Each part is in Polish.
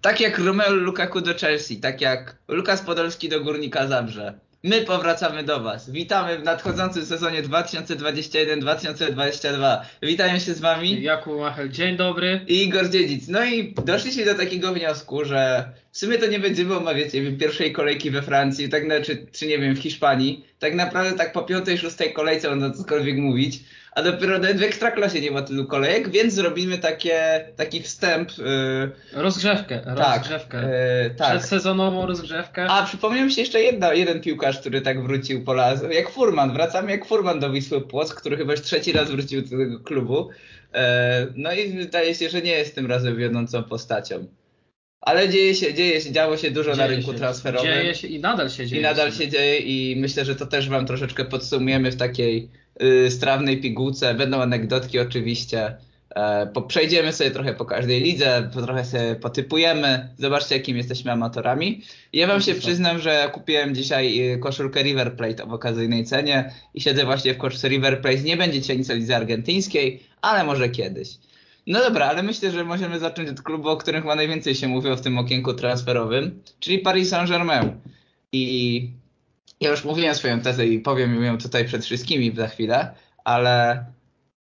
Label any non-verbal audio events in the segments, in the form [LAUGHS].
Tak jak Romeo Lukaku do Chelsea, tak jak Lukas Podolski do Górnika Zabrze. My powracamy do Was. Witamy w nadchodzącym sezonie 2021-2022. Witają się z Wami Jakub Machel, dzień dobry. Igor Dziedzic. No i doszliśmy do takiego wniosku, że w sumie to nie będziemy omawiać nie wiem, pierwszej kolejki we Francji, tak na, czy, czy nie wiem, w Hiszpanii. Tak naprawdę tak po piątej, szóstej kolejce można cokolwiek mówić. A dopiero nawet w Ekstraklasie nie ma tylu kolejek, więc zrobimy takie, taki wstęp. Yy, Rozgrzewkę, tak, rozgrzewkę. yy, tak. Przedsezonową rozgrzewkę. A przypomniał mi się jeszcze jedna, jeden piłkarz, który tak wrócił po raz. Jak Furman, wracamy jak Furman do Wisły Płock, który chyba już trzeci raz wrócił do tego klubu. E, No i wydaje się, że nie jest tym razem wiodącą postacią. Ale dzieje się, dzieje się, działo się dużo na Dzieje rynku się, transferowym Dzieje się i nadal się dzieje. i nadal się dzieje i myślę, że to też wam troszeczkę podsumujemy w takiej y, strawnej pigułce. Będą anegdotki oczywiście. E, po, przejdziemy sobie trochę po każdej lidze, po, trochę sobie potypujemy. Zobaczcie, jakim jesteśmy amatorami. Ja wam się Oczywiście. przyznam, że kupiłem dzisiaj y, koszulkę River Plate w okazyjnej cenie i siedzę właśnie w koszulce River Plate. Nie będzie dzisiaj nic o lidze argentyńskiej, ale może kiedyś. No dobra, ale myślę, że możemy zacząć od klubu, o którym chyba najwięcej się mówiło w tym okienku transferowym, czyli Paris Saint-Germain. I ja już mówiłem swoją tezę i powiem ją tutaj przed wszystkimi za chwilę, ale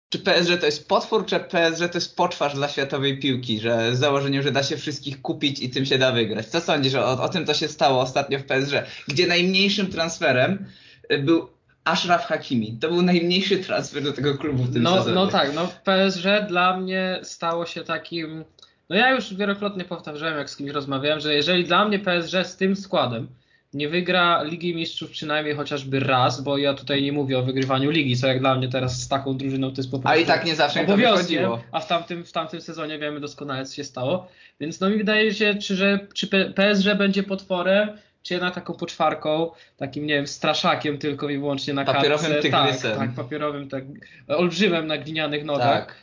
czy PSG to jest potwór, czy PSG to jest poczwarz dla światowej piłki, że z założeniem, że da się wszystkich kupić i tym się da wygrać? Co sądzisz o, o tym, co się stało ostatnio w PSG, gdzie najmniejszym transferem y, był Ashraf Hakimi. To był najmniejszy transfer do tego klubu w tym no, sezonie. no tak, no PSG dla mnie stało się takim. No ja już wielokrotnie powtarzałem, jak z kimś rozmawiałem, że jeżeli dla mnie PSG z tym składem nie wygra Ligi Mistrzów przynajmniej chociażby raz, bo ja tutaj nie mówię o wygrywaniu ligi, co jak dla mnie teraz z taką drużyną to jest po prostu A i tak nie zawsze im to obowiązkiem, wychodziło. a w tamtym, w tamtym sezonie wiemy doskonale, co się stało. Więc no mi wydaje się, czy, że, czy P- PSG będzie potworem, czy jednak taką poczwarką, takim, nie wiem, straszakiem tylko i wyłącznie na Papierowym kartce. tygrysem. Tak, tak, papierowym, tak, olbrzymem na glinianych nogach. Tak.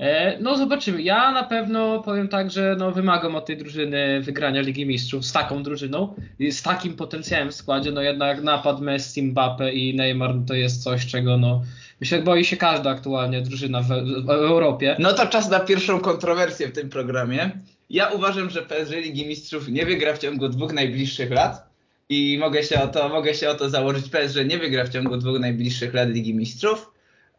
E, no zobaczymy. Ja na pewno powiem tak, że no, wymagam od tej drużyny wygrania Ligi Mistrzów z taką drużyną, i z takim potencjałem w składzie. No jednak napad Messi, Mbappe i Neymar no, to jest coś, czego no myślę, boi się każda aktualnie drużyna w, w, w Europie. No to czas na pierwszą kontrowersję w tym programie. Ja uważam, że PSG Ligi Mistrzów nie wygra w ciągu dwóch najbliższych lat. I mogę się o to, mogę się o to założyć. PSG nie wygra w ciągu dwóch najbliższych lat Ligi Mistrzów.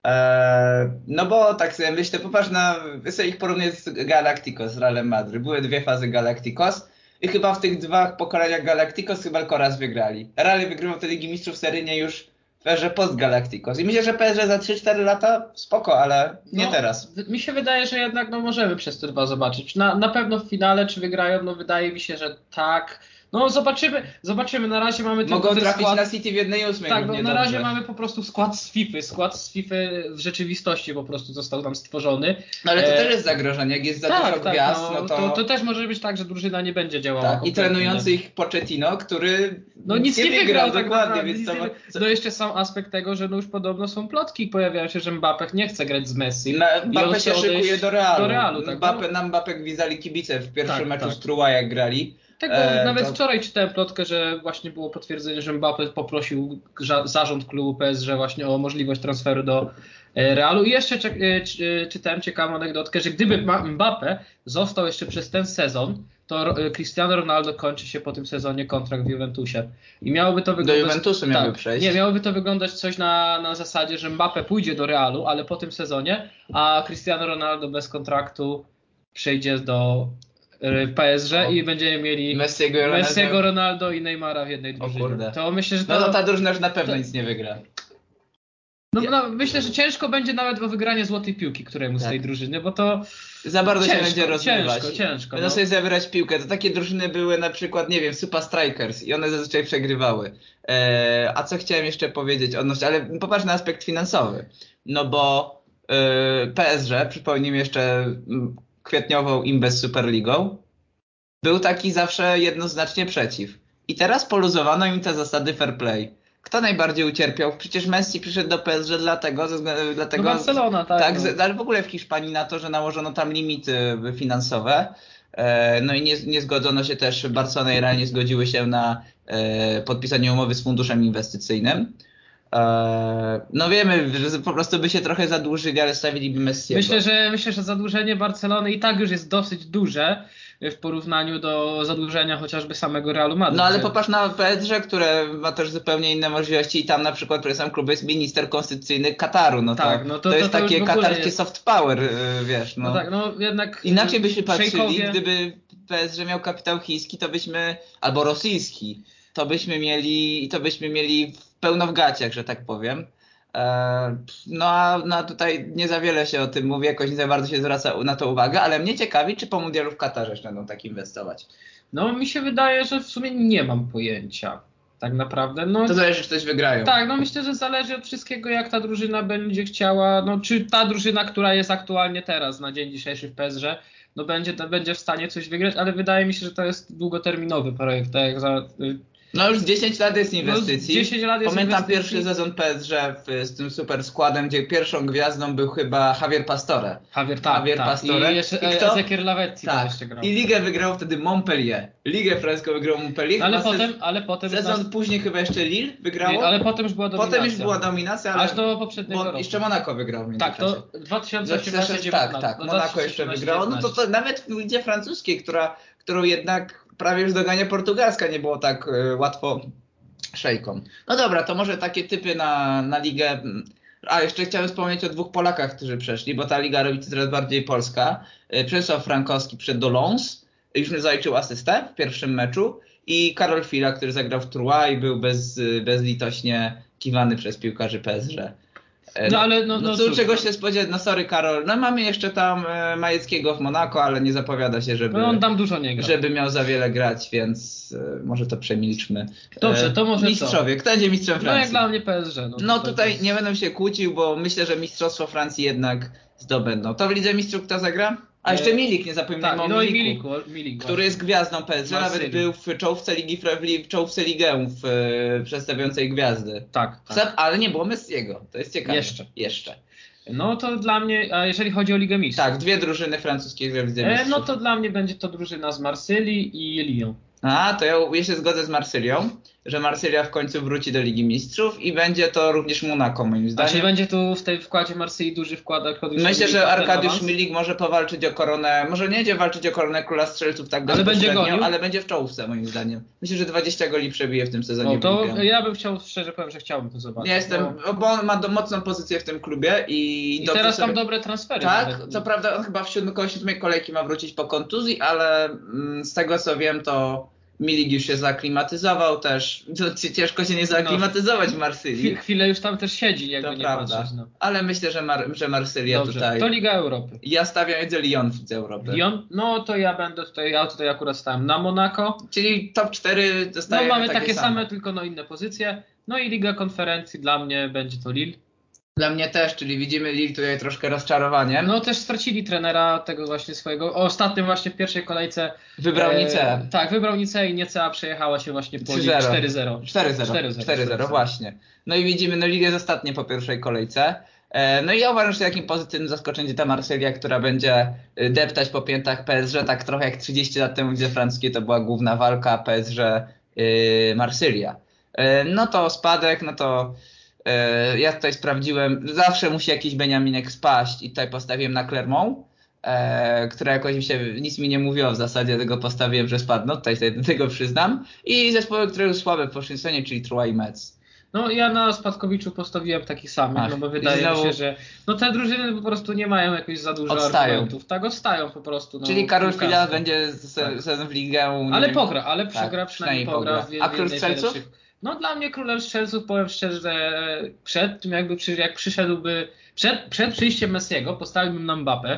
Eee, no bo tak sobie myślę, popatrz na, ja sobie ich porównuję z Galacticos, z Realem Madryt. Były dwie fazy Galacticos i chyba w tych dwóch pokoleniach Galacticos chyba tylko raz wygrali. Real wygrywał te Ligi Mistrzów seryjnie już w erze post-Galacticos. I myślę, że PSG za 3-4 lata spoko, ale nie No, teraz. w- Mi się wydaje, że jednak no, możemy przez te dwa zobaczyć. Na, na pewno w finale, czy wygrają, no wydaje mi się, że tak. No zobaczymy, zobaczymy. Na razie mamy tylko Mogą ten trafić skład. na City w jednej ósmej. Tak, no, równie na dobrze. razie mamy po prostu skład z FIFA. Y. Skład z FIFA Y w rzeczywistości po prostu został nam stworzony. No ale to e, też jest zagrożenie. Jak jest za dużo gwiazd, no, to. Tak, to też może być tak, że drużyna nie będzie działała. tak. I kompletnie. trenujący ich Pochettino, który No nic nie, wygrał, tak dokładnie, naprawdę. więc nic to nie ma... wy- No jeszcze sam aspekt tego, że no już podobno są plotki, pojawiają się, że Mbappe nie chce grać z Messi. Na, I on Mbappe chce się odejść szykuje do Realu. do Realu, tak. Mbappe, na Mbappe gwizdali kibice w pierwszym Tak, meczu tak. z Trua, jak grali. Tego E, Tak, nawet to- wczoraj czytałem plotkę, że właśnie było potwierdzenie, że Mbappe poprosił grza- zarząd klubu PSG właśnie o możliwość transferu do e, Realu. I jeszcze czek- e, czy- e, czytałem ciekawą anegdotkę, że gdyby Ma- Mbappe został jeszcze przez ten sezon, to Ro- e, Cristiano Ronaldo kończy się po tym sezonie kontrakt w Juventusie. I miałoby to Do wyglądać... Juventusu miałby przejść. Tak. Nie, miałoby to wyglądać coś na, na zasadzie, że Mbappe pójdzie do Realu, ale po tym sezonie, a Cristiano Ronaldo bez kontraktu przejdzie do e, PSG i będziemy mieli Messiego i Ronaldo. Messiego, Ronaldo i Neymara w jednej drużynie. kurde. To myślę, że No to, to ta drużyna już na pewno to- nic nie wygra. no, no, myślę, że ciężko będzie nawet o wygranie złotej piłki któremuś z Tak. tej drużyny, bo to Za bardzo się ciężko, będzie rozmywać. ciężko, ciężko. Będą No. sobie zabierać piłkę. To takie drużyny były na przykład, nie wiem, Super Strikers i one zazwyczaj przegrywały. Eee, a co chciałem jeszcze powiedzieć odnośnie, ale popatrz na aspekt finansowy. No bo e, PSG, przypomnijmy jeszcze mm, kwietniową imbę z Superligą, był taki zawsze jednoznacznie przeciw. I teraz poluzowano im te zasady fair play. Kto najbardziej ucierpiał? Przecież Messi przyszedł do PSG dlatego, ze względu, no dlatego Barcelona, tak. tak, no. z- ale w ogóle w Hiszpanii na to, że nałożono tam limity y, finansowe. E, No i nie, nie zgodzono się też, Barcelona i Real nie zgodziły się na e, podpisanie umowy z funduszem inwestycyjnym. Eee, no wiemy, że po prostu by się trochę zadłużyli, ale stawiliby Messiego. Myślę że, myślę, że zadłużenie Barcelony i tak już jest dosyć duże w porównaniu do zadłużenia chociażby samego Realu Madryt. No ale popatrz na Pedrze, które ma też zupełnie inne możliwości i tam na przykład prezesem klubu jest minister konstytucyjny Kataru. No to, Tak, no to- to, to- jest to już takie w ogóle katarskie jest- soft power, yy, wiesz. No. No tak, no jednak... Inaczej byśmy patrzyli, Szejkowie- gdyby PSG miał kapitał chiński, to byśmy, albo rosyjski, to byśmy mieli, to byśmy mieli w- pełno w gaciach, że tak powiem. E, No a no, a tutaj nie za wiele się o tym mówi, jakoś nie za bardzo się zwraca u- na to uwagę, ale mnie ciekawi, czy po mundialu w Katarze jeszcze będą tak inwestować. No mi się wydaje, że w sumie nie mam pojęcia. Tak naprawdę. No, To zależy, czy coś wygrają. tak, no myślę, że zależy od wszystkiego, jak ta drużyna będzie chciała, no czy ta drużyna, która jest aktualnie teraz, na dzień dzisiejszy w PSG, no będzie, będzie w stanie coś wygrać, ale wydaje mi się, że to jest długoterminowy projekt, tak jak za, No już 10 lat jest inwestycji. No, 10 lat jest Pamiętam inwestycji. pierwszy sezon PSG w, z tym super składem, gdzie pierwszą gwiazdą był chyba Javier Pastore. Javier, tak, Javier tak. Pastore. I jeszcze I kto? Ezekiel Lavetti Tak. tak. jeszcze grał. I ligę wygrał wtedy Montpellier. Ligę francuską wygrał Montpellier. No, Ale a potem, ale potem... Sezon, sezon później chyba jeszcze Lille wygrało. nie, ale potem już była dominacja. potem już była dominacja, ale Aż do poprzedniego bo roku. jeszcze Monaco wygrał w Tak, międzyczasie. to 2018 2016, tak, no tak. Monaco jeszcze wygrało. No to, to nawet w lidzie francuskiej, która, którą jednak prawie już dogania portugalska, nie było tak e, łatwo szejkom. No dobra, to może takie typy na, na ligę. mm. A jeszcze chciałem wspomnieć o dwóch Polakach, którzy przeszli, bo ta liga robi się coraz bardziej polska. E, Przemysław Frankowski przed Dolons, już mi zaliczył asystę w pierwszym meczu i Karol Fila, który zagrał w Troyes i był bez, e, bezlitośnie kiwany przez piłkarzy PSG. E, No ale no- no co- cóż, czego no. się spodziewać? No sorry Karol, no mamy jeszcze tam e, Majeckiego w Monako, ale nie zapowiada się, żeby, No on tam dużo nie gra. żeby miał za wiele grać, więc e, może to przemilczmy. E, Dobrze, to może co? Mistrzowie, kto będzie mistrzem No jak Francji? dla mnie PSG. No, No to- tutaj nie będę się kłócił, bo myślę, że mistrzostwo Francji jednak zdobędą. To w Lidze Mistrzów kto zagra? A jeszcze E, Milik, nie zapominajmy Tak, o no i Miliku Miliku, Milik który jest gwiazdą PSG, Marsylii. nawet był w czołówce Ligi, Fre- w li- w czołówce Ligi w e, przedstawiającej gwiazdy. Tak, tak. Za- Ale nie było Messiego, to jest ciekawe. Jeszcze. Jeszcze. No to dla mnie, a jeżeli chodzi o Ligę Mistrzów, Tak, dwie drużyny francuskie gry w Lidze e, Mistrzów. no to dla mnie będzie to drużyna z Marsylii i Lyon. A, to ja, ja się zgodzę z Marsylią, że Marsylia w końcu wróci do Ligi Mistrzów i będzie to również Monaco moim A czy zdaniem. No będzie tu w tej wkładzie Marsylii duży wkład Arkadiusza Myślę, Milika w że ten Arkadiusz awans? Milik może powalczyć o koronę, może nie będzie walczyć o koronę Króla Strzelców tak Ale będzie bezpośrednio, gonił? ale będzie w czołówce moim zdaniem. Myślę, że 20 goli przebije w tym sezonie. No w to Lidze. ja bym chciał, szczerze powiem, że chciałbym to zobaczyć. Ja jestem, bo- bo on ma do, mocną pozycję w tym klubie i, I dobrze teraz tam sobie- dobre transfery. Tak, nawet. co prawda on chyba w siódmej, koło siódmej kolejki ma wrócić po kontuzji, ale mm, z tego co wiem to Milik już się zaklimatyzował też. To ci- ciężko się nie zaklimatyzować w Chwi- Marsylii, Chwilę już tam też siedzi, jakby to nie prawda. patrzeć. No. Ale myślę, że, Mar- że Marsylia Dobrze, tutaj... to Liga Europy. Ja stawiam między Lyon z Europy. Lyon, no to ja będę tutaj, ja tutaj akurat stałem na Monako. Czyli top 4 No dostajemy mamy takie, same, tylko no inne pozycje. No i Liga Konferencji dla mnie będzie to Lille. Dla mnie też, czyli widzimy Lille tutaj troszkę rozczarowaniem. No też stracili trenera tego właśnie swojego, o, ostatnim właśnie w pierwszej kolejce. Wybrał e, Nicea. Tak, wybrał Nicea i Nicea przejechała się właśnie po Lille 3-0. 4-0. 4-0. 4-0, 4-0, właśnie. No i widzimy, no Lidia jest ostatnia po pierwszej kolejce. E, No i ja uważam, że takim pozytywnym zaskoczeniem będzie ta Marsylia, która będzie y, deptać po piętach PSG, tak trochę jak 30 lat temu, gdzie francuskie to była główna walka PSG y, Marsylia. E, No to spadek, no to e, ja tutaj sprawdziłem, zawsze musi jakiś Beniaminek spaść i tutaj postawiłem na Clermont, e, która jakoś mi się, nic mi nie mówiła w zasadzie, tego postawiłem, że spadną, tutaj sobie do tego przyznam. I zespoły, które już słabe w poszczególnym sezonie, czyli Troy i Mets. No ja na Spadkowiczu postawiłem taki sam, Ach, no bo i wydaje znowu- mi się, że no te drużyny po prostu nie mają jakoś za dużo Odstają. argumentów. Tak, odstają po prostu. No, czyli Karol piłkarsko. Fila będzie se, Tak. sezon w ligę. nie Ale wiem, pogra, ale przegra przynajmniej przynajmniej pogra. pogra. A w król jednej z strzelców? pierwszych. No dla mnie królem strzelców powiem szczerze, przed tym jakby przy- jak przyszedłby, przed, przed przyjściem Messiego postawiłbym na Mbappé,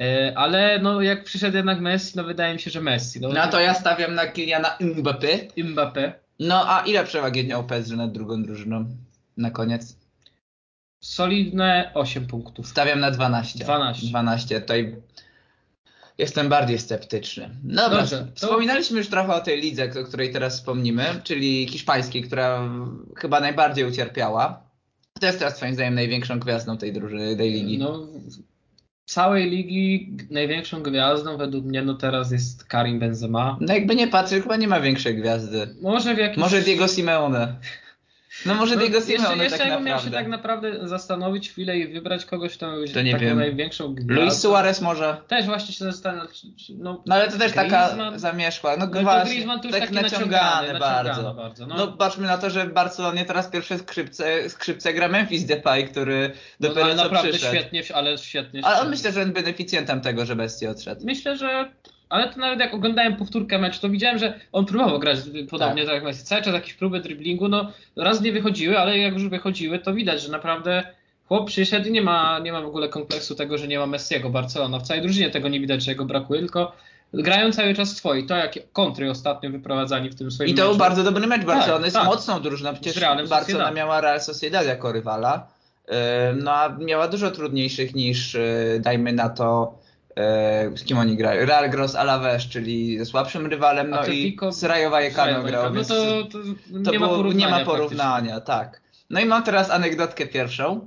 e, ale no jak przyszedł jednak Messi, no wydaje mi się, że Messi. No, No to ja stawiam na Kiliana Mbappé. Mbappé. No a ile przewagi miał PSG nad drugą drużyną? Na koniec. Solidne 8 punktów. Stawiam na 12. 12. 12. Tutaj jestem bardziej sceptyczny. Dobra, Dobrze, Dobrze, to- wspominaliśmy już trochę o tej lidze, o której teraz wspomnimy, czyli hiszpańskiej, która mm, chyba najbardziej ucierpiała. Kto jest teraz twoim zdaniem największą gwiazdą tej drużyny, tej ligi? No, w- w całej ligi g- największą gwiazdą według mnie no teraz jest Karim Benzema. No jakby nie patrzeć, chyba nie ma większej gwiazdy. Może w jakimś Może Diego Simeone. No może No, Diego jeszcze, Simeone jeszcze tak jakbym miał się naprawdę. tak naprawdę zastanowić chwilę i wybrać kogoś, kto miał być To nie taką wiem. największą gwiazdą. Luis Suarez może. Też właśnie się zastanawiam. czy- czy- No, No ale to też taka Griezmann? zamieszkła. No, No to właśnie, Griezmann to już tak taki naciągany, naciągany bardzo. bardzo. No. No, patrzmy na to, że w Barcelonie teraz pierwsze skrzypce, skrzypce gra Memphis Depay, który no, dopiero ale co naprawdę przyszedł. świetnie, ale świetnie. Ale on myślę, że on beneficjentem tego, że bestie odszedł. Myślę, że. Ale to nawet jak oglądałem powtórkę meczu, to widziałem, że on próbował grać podobnie tak, jak Messi. Cały czas jakieś próby driblingu, no raz nie wychodziły, ale jak już wychodziły, to widać, że naprawdę chłop przyszedł i nie ma, nie ma w ogóle kompleksu tego, że nie ma Messiego Barcelona. W całej drużynie tego nie widać, że jego brakuje, tylko grają cały czas swoi. To jakie kontry ostatnio wyprowadzani w tym swoim I to był meczu. bardzo dobry mecz Barcelony Tak, z tak. mocną drużyną, przecież Z Realem Barcelona Sociedad. miała Real Sociedad jako rywala, Ym, no a miała dużo trudniejszych niż, y, dajmy na to, y, z kim oni grają, Real Gros Alaves, czyli ze słabszym rywalem, no Atletico- i z Rayo Vallecano grał, No więc to, to, to nie, było, ma porównania nie ma praktycznie. porównania, tak. No i mam teraz anegdotkę pierwszą,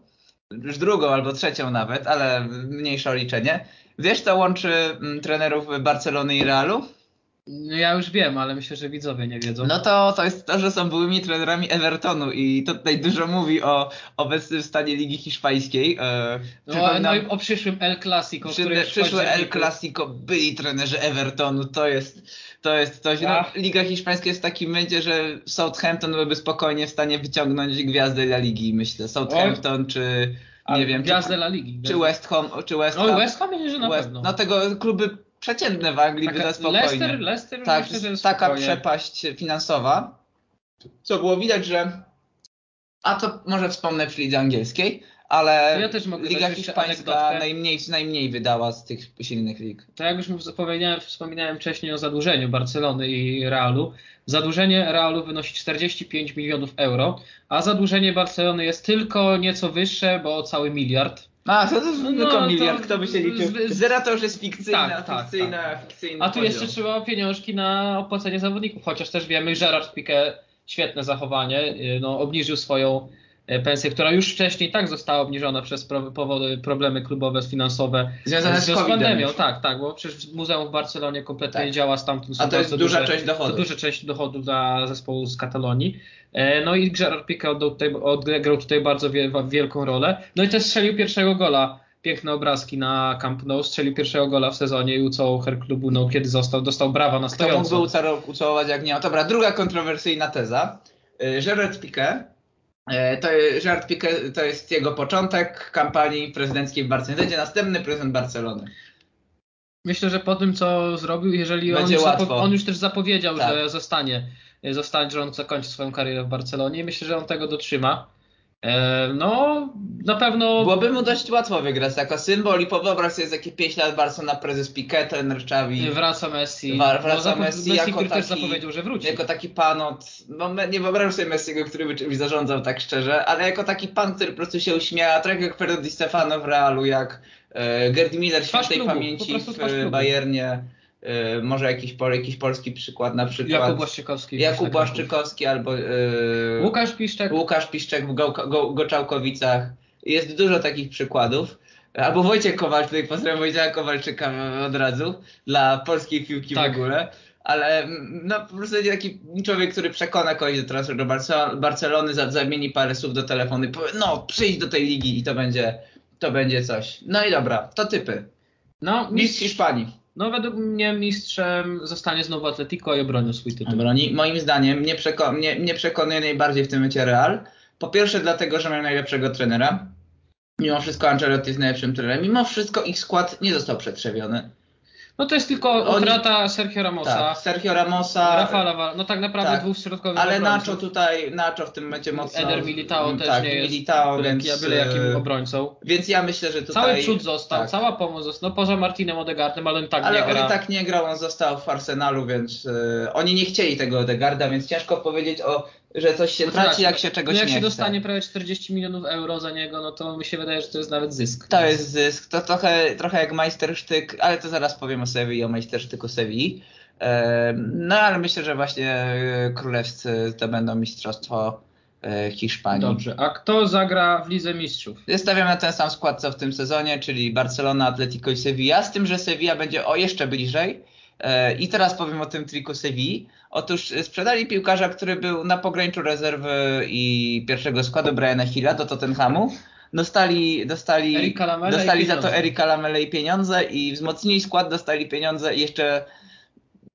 już drugą albo trzecią nawet, ale mniejsze o liczenie. Wiesz, co łączy mm, trenerów Barcelony i Realu? No Ja już wiem, ale myślę, że widzowie nie wiedzą. No to, to jest to, że są byłymi trenerami Evertonu i to tutaj dużo mówi o obecnym stanie Ligi Hiszpańskiej. E, No, a- no przypominam, i o przyszłym El Clasico, przy- który w przyszłe El październiku- Clasico byli trenerzy Evertonu, to jest, to jest coś. No, Ach. Liga Hiszpańska jest w takim momencie, że Southampton byłby spokojnie w stanie wyciągnąć gwiazdę dla Ligi, myślę. Southampton czy nie Ale wiem, czy, Gwiazdę La Ligi. czy West Ham, czy West Ham. No West Ham będzie, że na West- pewno. no tego kluby przeciętne w Anglii by za Taka, spokojnie. Leicester, Leicester Tak, myślę, że taka spokojnie. przepaść finansowa, co było widać, że. A to może wspomnę przy lidze angielskiej, ale No ja też mogę Liga dać jeszcze Hiszpańska anegdotkę. najmniej, najmniej wydała z tych silnych lig. To Tak jak już mu zapowiedziałem- wspominałem wcześniej o zadłużeniu Barcelony i Realu. Zadłużenie Realu wynosi 45 milionów euro, a zadłużenie Barcelony jest tylko nieco wyższe, bo o cały miliard. A, to, to jest No, tylko to- miliard, kto by się liczył. z- z- Zera to już jest fikcyjna, Tak, tak, fikcyjna, fikcyjna. A tu poziom. jeszcze trzeba pieniążki na opłacenie zawodników, chociaż też wiemy, że Gerard Piqué świetne zachowanie, y, no, obniżył swoją e, pensję, która już wcześniej i tak została obniżona przez pro- powody, problemy klubowe, finansowe y, Związane z COVID-em pandemią. już. Tak, tak, bo przecież muzeum w Barcelonie kompletnie Tak. nie działa stamtąd. są A to jest bardzo duża duże- część dochodów. To duża część dochodu dla zespołu z Katalonii. E, No i Gerard Piqué oddał tutaj, odegrał tutaj bardzo wie- wielką rolę. No i też strzelił pierwszego gola. Piękne obrazki na Camp Nou. Strzelił pierwszego gola w sezonie i ucałał her klubu, no, kiedy został, dostał brawa na Kto mógłby stojąco. ucaro- ucałować, jak nie? Dobra, druga kontrowersyjna teza. Y, Gerard Piqué. E, To, Gerard Piqué to jest jego początek kampanii prezydenckiej w Barcelonie. Będzie następny prezydent Barcelony. Myślę, że po tym, co zrobił, jeżeli on Będzie już, łatwo. zapo- on już też zapowiedział, Tak. że zostanie, e, zostanie, że on zakończy swoją karierę w Barcelonie i myślę, że on tego dotrzyma. E, No, na pewno... Byłoby mu dość łatwo wygrać jako symbol i wyobraź sobie, za jakie 5 lat Barcelona prezes Piqué, trener Xavi, Wraca Messi. Wa- wraca zapo- Messi jako który też taki- zapowiedział, że wróci. jako taki pan od... No, me- nie wyobrażam sobie Messiego, który by czymś zarządzał tak szczerze, ale jako taki pan, który po prostu się uśmiecha, trochę jak Fernando Di Stefano w Realu, jak e, Gerd Miller Twarz świętej klubu, po pamięci prostu w twarz e, klubu. Bayernie, e, może jakiś, po- jakiś polski przykład na przykład. Jakub Błaszczykowski. Jakub Piszczek Raków. Błaszczykowski albo e, Łukasz Piszczek. Łukasz Piszczek w Gołka- Go- Goczałkowicach. Jest dużo takich przykładów. Albo Wojciech Kowal, tutaj pozdrawiam Wojciecha Kowalczyka od razu, dla polskiej piłki Tak. w ogóle. Ale mm, no, po prostu będzie taki człowiek, który przekona kogoś do transferu do Barce- Barcelony, za- zamieni parę słów do telefonu, i powie, no przyjdź do tej ligi i to będzie, to będzie coś. No i dobra, to typy. No, Mistrz mistrz, Hiszpanii. no według mnie mistrzem zostanie znowu Atletico i obronił swój tytuł. broni. Moim zdaniem mnie, przeko- mnie, mnie przekonuje najbardziej w tym mecie Real. Po pierwsze dlatego, że mają najlepszego trenera. Mimo wszystko Ancelotti jest najlepszym trenerem. Mimo wszystko ich skład nie został przetrzewiony. No to jest tylko Oni- utrata Sergio Ramosa, Tak, Sergio Ramosa, Rafala, Wa- no tak naprawdę Tak. dwóch środkowych ale obrońców. Nacho tutaj, Nacho w tym mecie mocno... Eder Militao też tak, nie jest Militao, byle- więc, byle e, jakim obrońcą. więc ja myślę, że tutaj... Cały przód został, tak. cała pomoc została, no poza Martinem Odegaardem, ale on tak Ale nie gra. on i tak nie grał, on został w Arsenalu, więc e, oni nie chcieli tego Odegarda, więc ciężko powiedzieć, o, że coś się No traci, tak, jak się czegoś no jak nie się chce. dostanie prawie 40 milionów euro za niego, no to mi się wydaje, że to jest nawet zysk. To jest zysk, to trochę, trochę jak majstersztyk, ale to zaraz powiem o Sewilli, o majstersztyku Sewilli. Em, No ale myślę, że właśnie e, królewscy zdobędą mistrzostwo e, Hiszpanii. Dobrze, a kto zagra w Lidze Mistrzów? Stawiam na ten sam skład co w tym sezonie, czyli Barcelona, Atletico i Sevilla, z tym, że Sevilla będzie o jeszcze bliżej, e, I teraz powiem o tym triku Sewilli. Otóż sprzedali piłkarza, który był na pograniczu rezerwy i pierwszego składu Briana Hilla do Tottenhamu. Dostali, dostali, Erika Lamela dostali i za to pieniądze. Erika Lamele i pieniądze i wzmocnili skład, dostali pieniądze i jeszcze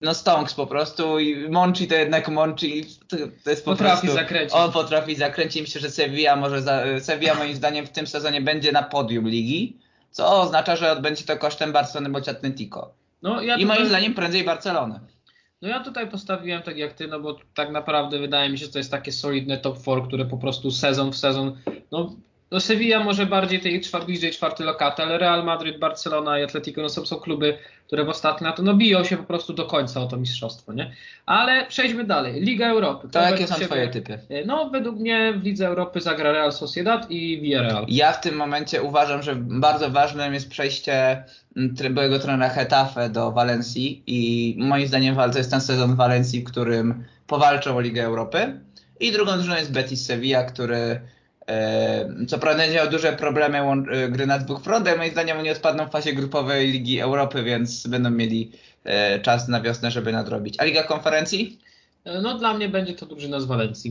no Stonks po prostu i Monchi to jednak Monchi to, to jest po Potrafi prostu, zakręcić. On potrafi zakręcić. Myślę, że Sevilla może za, Sevilla moim zdaniem w tym sezonie będzie na podium ligi, co oznacza, że odbędzie to kosztem Barcelony bądź Atletico. No, ja I moim tutaj- zdaniem prędzej Barcelony. No ja tutaj postawiłem tak jak ty, no bo tak naprawdę wydaje mi się, że to jest takie solidne top 4, które po prostu sezon w sezon, no, no Sevilla może bardziej tej czwa, bliżej czwarty lokat, ale Real Madrid, Barcelona i Atletico no są, są kluby, które w ostatnich latach no biją się po prostu do końca o to mistrzostwo, nie? Ale przejdźmy dalej. Liga Europy. To Kto jakie według są ciebie- twoje typy? No według mnie w Lidze Europy zagra Real Sociedad i Villarreal. Ja w tym momencie uważam, że bardzo ważnym jest przejście mm, tre- byłego trenera Hetafe do Walencji i moim zdaniem wal- to jest ten sezon w Walencji, w którym powalczą o Ligę Europy. I drugą drużyną jest Betis Sevilla, który e, co prawda miał duże problemy łą- e, gry na dwóch frontach, moim zdaniem oni odpadną w fazie grupowej Ligi Europy, więc będą mieli e, czas na wiosnę, żeby nadrobić. A Liga Konferencji? No dla mnie będzie to drużyna z Walencji.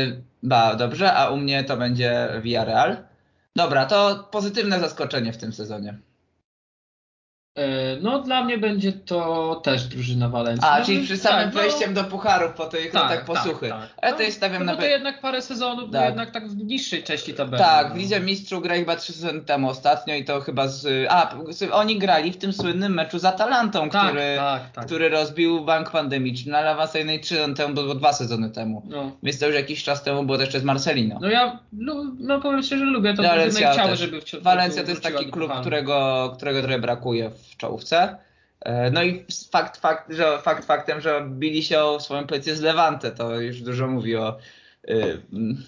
Yy, ba, dobrze, a u mnie to będzie Villarreal. Dobra, to pozytywne zaskoczenie w tym sezonie. E, No dla mnie będzie to też drużyna Walencji. A, no, czyli więc przed samym tak, no- Tak, wejściem do pucharów po tak tych latach posuchy. Ale to jest stawiam no, na bo to pe- jednak parę sezonów, tak. Tak. jednak tak w niższej części tabeli. Tak, no. w Lidze Mistrzów gra chyba trzy sezony temu ostatnio i to chyba z... A, z- oni grali w tym słynnym meczu z Atalantą, tak, który, tak, tak. który rozbił bank pandemiczny, ale awansacyjny trzy sezony temu, bo dwa sezony temu. No. Więc to już jakiś czas temu było to jeszcze z Marcelino. no ja lu- no powiem szczerze, lubię to Walencja drużynę i chciałem, też. żeby w Walencja to jest taki klub, którego, którego trochę brakuje w czołówce. E, No i fakt, fakt, że, fakt faktem, że bili się o swoją pozycję z Levante, to już dużo mówi o... y, m,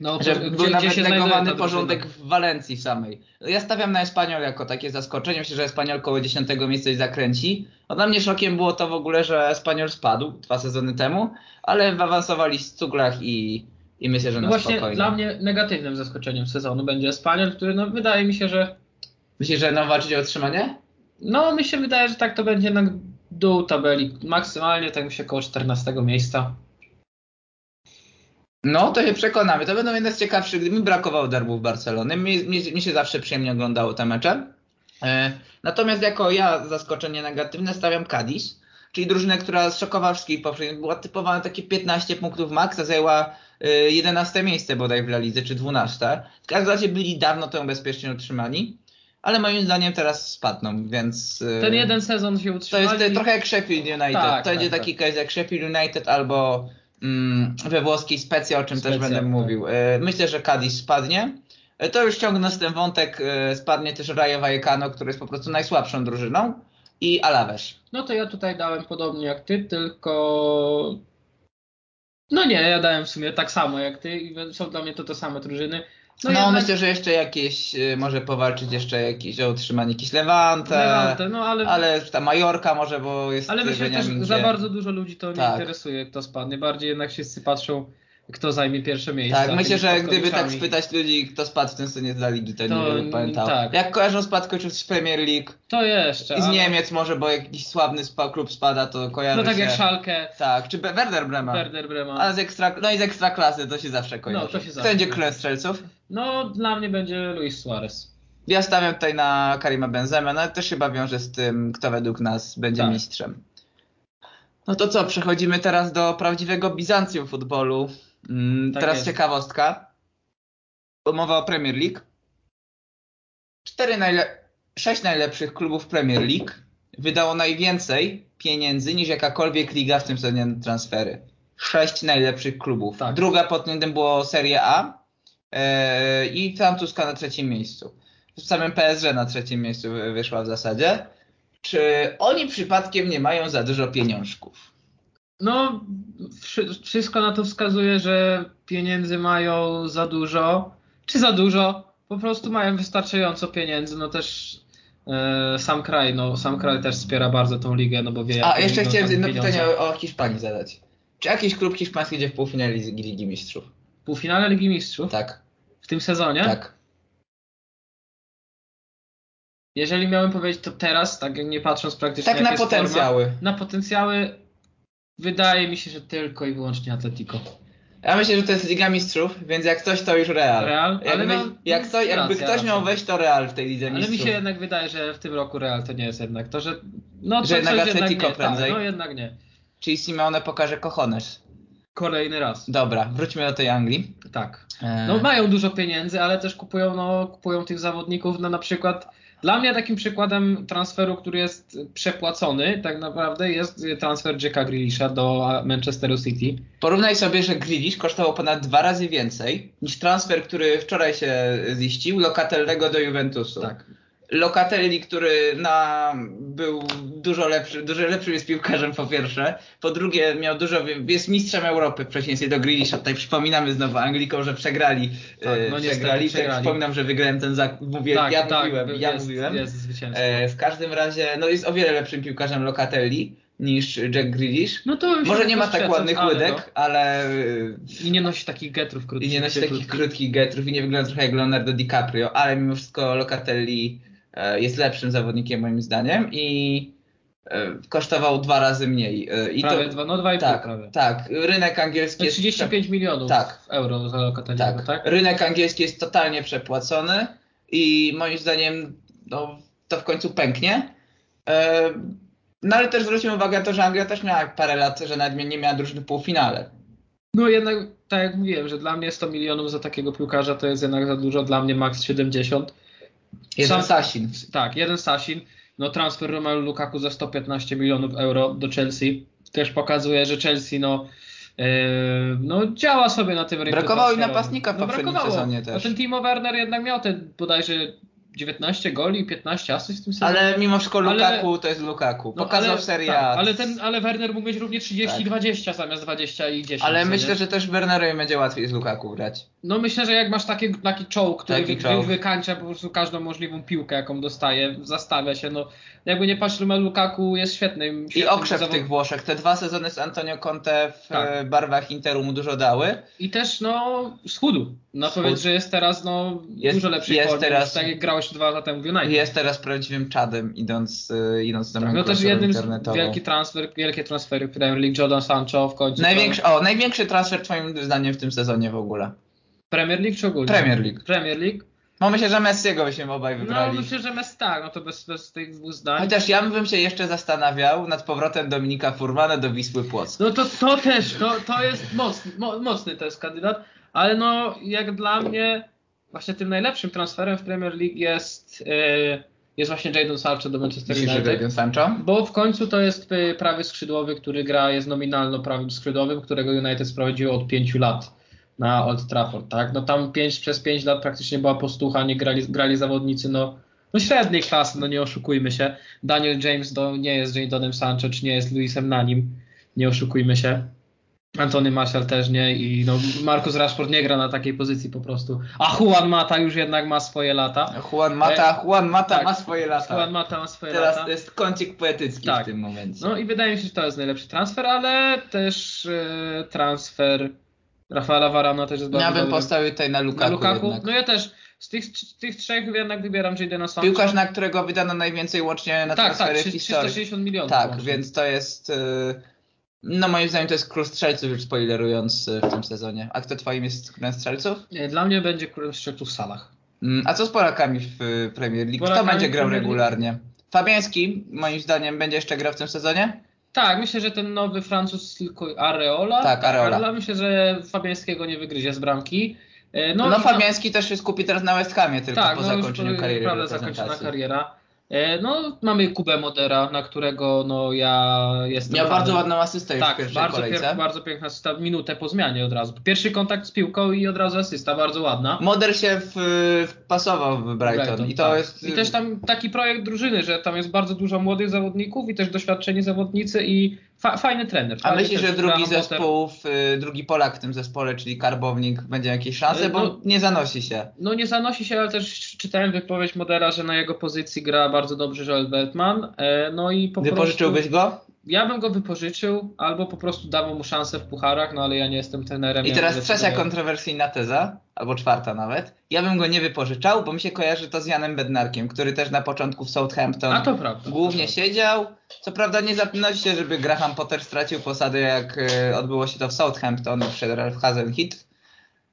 no, że gdzie, był gdzie nawet się znajduje negowany ta porządek drużyna? w Walencji samej. No Ja stawiam na Espaniol jako takie zaskoczenie. Myślę, że Espaniol koło 10 miejsca i zakręci. No dla mnie szokiem było to w ogóle, że Espaniol spadł dwa sezony temu, ale awansowali z cuglach i, i myślę, że No na właśnie spokojnie. dla mnie negatywnym zaskoczeniem sezonu będzie Espaniol, który no wydaje mi się, że Myślisz, że no walczyć o utrzymanie? no mi się wydaje, że tak to będzie jednak dół tabeli. Maksymalnie tak mi się koło 14 miejsca. No, to się przekonamy. To będą jedne z ciekawszych. Mi brakowało derbów Barcelony. Mi, mi, mi się zawsze przyjemnie oglądało te mecze. E, natomiast jako ja zaskoczenie negatywne stawiam Cadiz, czyli drużynę, która zszokowała wszystkich poprzednich. Była typowana takie 15 punktów max, a zajęła e, 11 miejsce bodaj w La Lidze, czy 12. W każdym razie byli dawno tę bezpiecznie utrzymani, ale moim zdaniem teraz spadną, więc... e, Ten jeden sezon się to utrzymali. jest e, trochę jak Sheffield United. Tak, to będzie tak, taki case jak Sheffield United albo mm, we włoskiej Specja, o czym Specja, też będę tak. mówił. E, myślę, że Cadiz spadnie. E, to już ciągnę z tym wątek. E, spadnie też Rayo Vallecano, który jest po prostu najsłabszą drużyną i Alaves. No to ja tutaj dałem podobnie jak ty, tylko. No nie, ja dałem w sumie tak samo jak ty i są dla mnie to te same drużyny. No, jednak myślę, że jeszcze jakieś, e, może powalczyć jeszcze jakieś o utrzymanie, jakiś Levante, Levante, no ale, ale, ale ta Majorka może, bo jest myślę, że też Beniamin za Dzie- bardzo dużo ludzi to nie Tak. interesuje, kto spadnie. Bardziej jednak wszyscy patrzą, kto zajmie pierwsze miejsce. Tak, a myślę, tymi że gdyby tak podkomiczami- spytać ludzi, kto spadł w tym sezonie dla ligi, to, To nie bym pamiętał. tak. Jak kojarzą spadkoczył z Premier League To jeszcze. i z ale- Niemiec może, bo jakiś sławny spa, klub spada, to kojarzy No tak się. jak Schalke, Tak, czy Be- Werder Brema. Werder Brema. Ale z ekstra, no i z Ekstraklasy to się zawsze kojarzy. No, to się zawsze Kto będzie kojarzy. królem strzelców? No dla mnie będzie Luis Suarez. Ja stawiam tutaj na Karima Benzema, no ale też chyba wiąże z tym, kto według nas będzie Tak. mistrzem. No to co, przechodzimy teraz do prawdziwego Bizancjum futbolu. Mm, Tak teraz jest. ciekawostka, bo mowa o Premier League. Cztery najle- sześć najlepszych klubów Premier League wydało najwięcej pieniędzy niż jakakolwiek liga w tym sezonie na transfery. Sześć najlepszych klubów. Tak. Druga pod względem było Serie A e, i Francuska na trzecim miejscu. W samym PSG na trzecim miejscu wy- wyszła w zasadzie. Czy oni przypadkiem nie mają za dużo pieniążków? No, wszy- wszystko na to wskazuje, że pieniędzy mają za dużo, czy za dużo, po prostu mają wystarczająco pieniędzy, no też e, sam kraj, no sam kraj też wspiera bardzo tą ligę, no bo wie jak A, jeszcze idą chciałem tam jedno pieniądze. pytanie o, o Hiszpanii zadać. Czy jakiś klub hiszpański idzie w półfinale Ligi, Ligi Mistrzów? Półfinale Ligi Mistrzów Tak, w tym sezonie? tak. Jeżeli miałem powiedzieć, to teraz, tak nie patrząc praktycznie Tak jak na jest potencjały. Forma, na potencjały wydaje mi się, że tylko i wyłącznie Atletico. Ja myślę, że to jest Liga Mistrzów, więc jak coś to już Real. Real? Jak Ale my, no, jak co, jakby racja, ktoś miał racja. wejść, to Real w tej Lidze Ale mi Mistrzów. się jednak wydaje, że w tym roku Real to nie jest jednak to, że no to Że jednak coś Atletico nie, prędzej. Tak, no jednak nie. Czyli Simeone pokaże kochones. Kolejny raz. Dobra, wróćmy do tej Anglii. Tak. E, No mają dużo pieniędzy, ale też kupują, no, kupują tych zawodników No, na na przykład. Dla mnie takim przykładem transferu, który jest przepłacony, tak naprawdę jest transfer Jacka Grealisha do a, Manchesteru City. Porównaj sobie, że Grealish kosztował ponad dwa razy więcej niż transfer, który wczoraj się ziścił, Lokatellego do Juventusu. Tak. Lokatelli, który na, był dużo lepszy, dużo lepszym jest piłkarzem po pierwsze, po drugie miał dużo, wie- jest mistrzem Europy w przeciwieństwie do Grealisha. Tutaj przypominamy znowu Anglikom, że przegrali, Tak, e, no niestety przegrali. Tak, przegrali. przypominam, że wygrałem ten zakup, mówię, tak, ja tak, mówiłem, był- ja jest, mówiłem. Jest zwycięstwo. E, w każdym razie, no jest o wiele lepszym piłkarzem Lokatelli niż Jack Grealish. no to już Może nie ma to tak sprzeczać, ładnych ale łydek, ale y, no. I nie nosi takich getrów krótkich. i nie nosi takich krótkich. krótkich getrów i nie wygląda trochę jak Leonardo DiCaprio, ale mimo wszystko Locatelli e, jest lepszym zawodnikiem moim zdaniem i e, kosztował dwa razy mniej. E, I Prawie to, dwa, no dwa i tak, pół prawie. tak. Rynek angielski No jest 35 milionów Tak. euro za Kataliego, tak, tak? Rynek angielski jest totalnie przepłacony i moim zdaniem no, to w końcu pęknie. E, No ale też zwróćmy uwagę na to, że Anglia też miała parę lat, że nawet nie miała drużyny w półfinale. No jednak, tak jak mówiłem, że dla mnie 100 milionów za takiego piłkarza to jest jednak za dużo, dla mnie max 70. Jeden Sam- Sasin. Tak, jeden Sasin, no transfer Romelu Lukaku za 115 milionów euro do Chelsea też pokazuje, że Chelsea no, e, no działa sobie na tym rynku. Brakowało im transferowym. napastnika w poprzednim sezonie też. No ten Timo Werner jednak miał te bodajże 19 goli, 15 asyst w tym sezonie. Ale mimo wszystko Ale- Lukaku to jest Lukaku. No, Pokazał ale- Serie A. tak, ale, ten, ale Werner mógł mieć równie 30 Tak. 20 zamiast 20 i 10. Ale co nie? myślę, że też Wernerowi będzie łatwiej z Lukaku grać. No myślę, że jak masz taki, taki czołg, który Taki wy, czołg. wykańcza po prostu każdą możliwą piłkę, jaką dostaje, zastawia się, no jakby nie patrzył na Lukaku, jest świetnym. I świetnym okrzep zawod- tych Włoszech. Te dwa sezony z Antonio Conte w Tak. e, barwach Interu mu dużo dały. I też no schudł. No Schudł. powiedz, że jest teraz no Jest- dużo lepszy jest formie, teraz- niż tak jak grałeś dwa lata temu w United. Jest teraz prawdziwym czadem, idąc, e, idąc do Tak. No też jednym z internetową. wielki transfer, wielkie transfery Premier League, Jordan Sancho w końcu. Największy, o, największy transfer twoim zdaniem w tym sezonie w ogóle. Premier League czy ogólnie? Premier League. Premier League. Bo myślę, że Messiego byśmy obaj No wybrali. myślę, że Messi tak, no to bez, bez tych dwóch zdań. Chociaż ja bym się jeszcze zastanawiał nad powrotem Dominika Furmana do Wisły Płock. No to, to też, to, to jest mocny, mo, mocny to jest kandydat, ale no jak dla mnie właśnie tym najlepszym transferem w Premier League jest, e, jest właśnie Jadon Sancho do Manchester Myślisz, że United. Jadon Sancho? Bo w końcu to jest e, prawy skrzydłowy, który gra, jest nominalno prawym skrzydłowym, którego United sprowadziło od 5 lat na Old Trafford, tak? No tam pięć, przez 5 lat praktycznie była postucha, nie grali, grali zawodnicy, no, no średniej klasy, no nie oszukujmy się. Daniel James do, nie jest Jadonem Sancho, czy nie jest Luisem Nanim, nie oszukujmy się. Antony Marshall też nie i no Marcus Rashford nie gra na takiej pozycji po prostu. A Juan Mata już jednak ma swoje lata. Juan Mata, Juan Mata tak. y, ma swoje lata. Juan Mata ma swoje Teraz lata. to jest kącik poetycki Tak. w tym momencie. No i wydaje mi się, że to jest najlepszy transfer, ale też e, transfer Rafaela Varana też jest No, bardzo ja bym dobry. postawił tutaj na na Lukaku, Lukaku. jednak. No ja też z tych, z tych trzech jednak wybieram Jadena Sancho. Piłkarz, na którego wydano najwięcej łącznie na tak, tak, transfery trzy- w historii. 360 milionów. Tak, łącznie. więc to jest... y, No moim zdaniem to jest król strzelców, już spoilerując y, w tym sezonie. A kto twoim jest królem strzelców? E, Dla mnie będzie królem strzelców w salach. Mm, A co z Polakami w y, Premier League? Kto Polakami będzie grał w Premier League? regularnie? Fabiański, moim zdaniem, będzie jeszcze grał w tym sezonie? Tak, myślę, że ten nowy Francuz tylko Areola. Tak, Areola. Areola. Myślę, że Fabiańskiego nie wygryzie z bramki. E, No, i tam- Tak, Fabiański też się skupi teraz na West Hamie, tylko po już zakończeniu po- kariery no, Prawda, zakończona reprezentacji. kariera. E, No, mamy Kubę Modera, na którego no, ja jestem. Miał rady. bardzo ładną asystę już w tak, pierwszej bardzo, kolejce. pier, bardzo piękna asysta, minutę po zmianie od razu. Pierwszy kontakt z piłką i od razu asysta, bardzo ładna. Moder się w, wpasował w Brighton, i to tak. jest... I też tam taki projekt drużyny, że tam jest bardzo dużo młodych zawodników i też doświadczeni zawodnicy i fa, fajny trener. A fajny myślisz, że trener, drugi Graham Potter. zespół, w, y, drugi Polak w tym zespole, czyli Karbownik, będzie jakieś szanse? Ale Bo no- nie zanosi się. No nie zanosi się, ale też czytałem wypowiedź Modera, że na jego pozycji gra bardzo dobrze Joel Beltman. E, No i po prostu... Wypożyczyłbyś go? ja bym go wypożyczył albo po prostu dawał mu szansę w pucharach, no ale ja nie jestem trenerem. I ja teraz nie trzecia decyduję. kontrowersyjna teza, albo czwarta nawet. Ja bym go nie wypożyczał, bo mi się kojarzy to z Janem Bednarkiem, który też na początku w Southampton A to prawda. głównie to siedział. Co prawda nie zapomniał się, żeby Graham Potter stracił posadę, jak e, odbyło się to w Southampton i przed Ralph Hasenhit.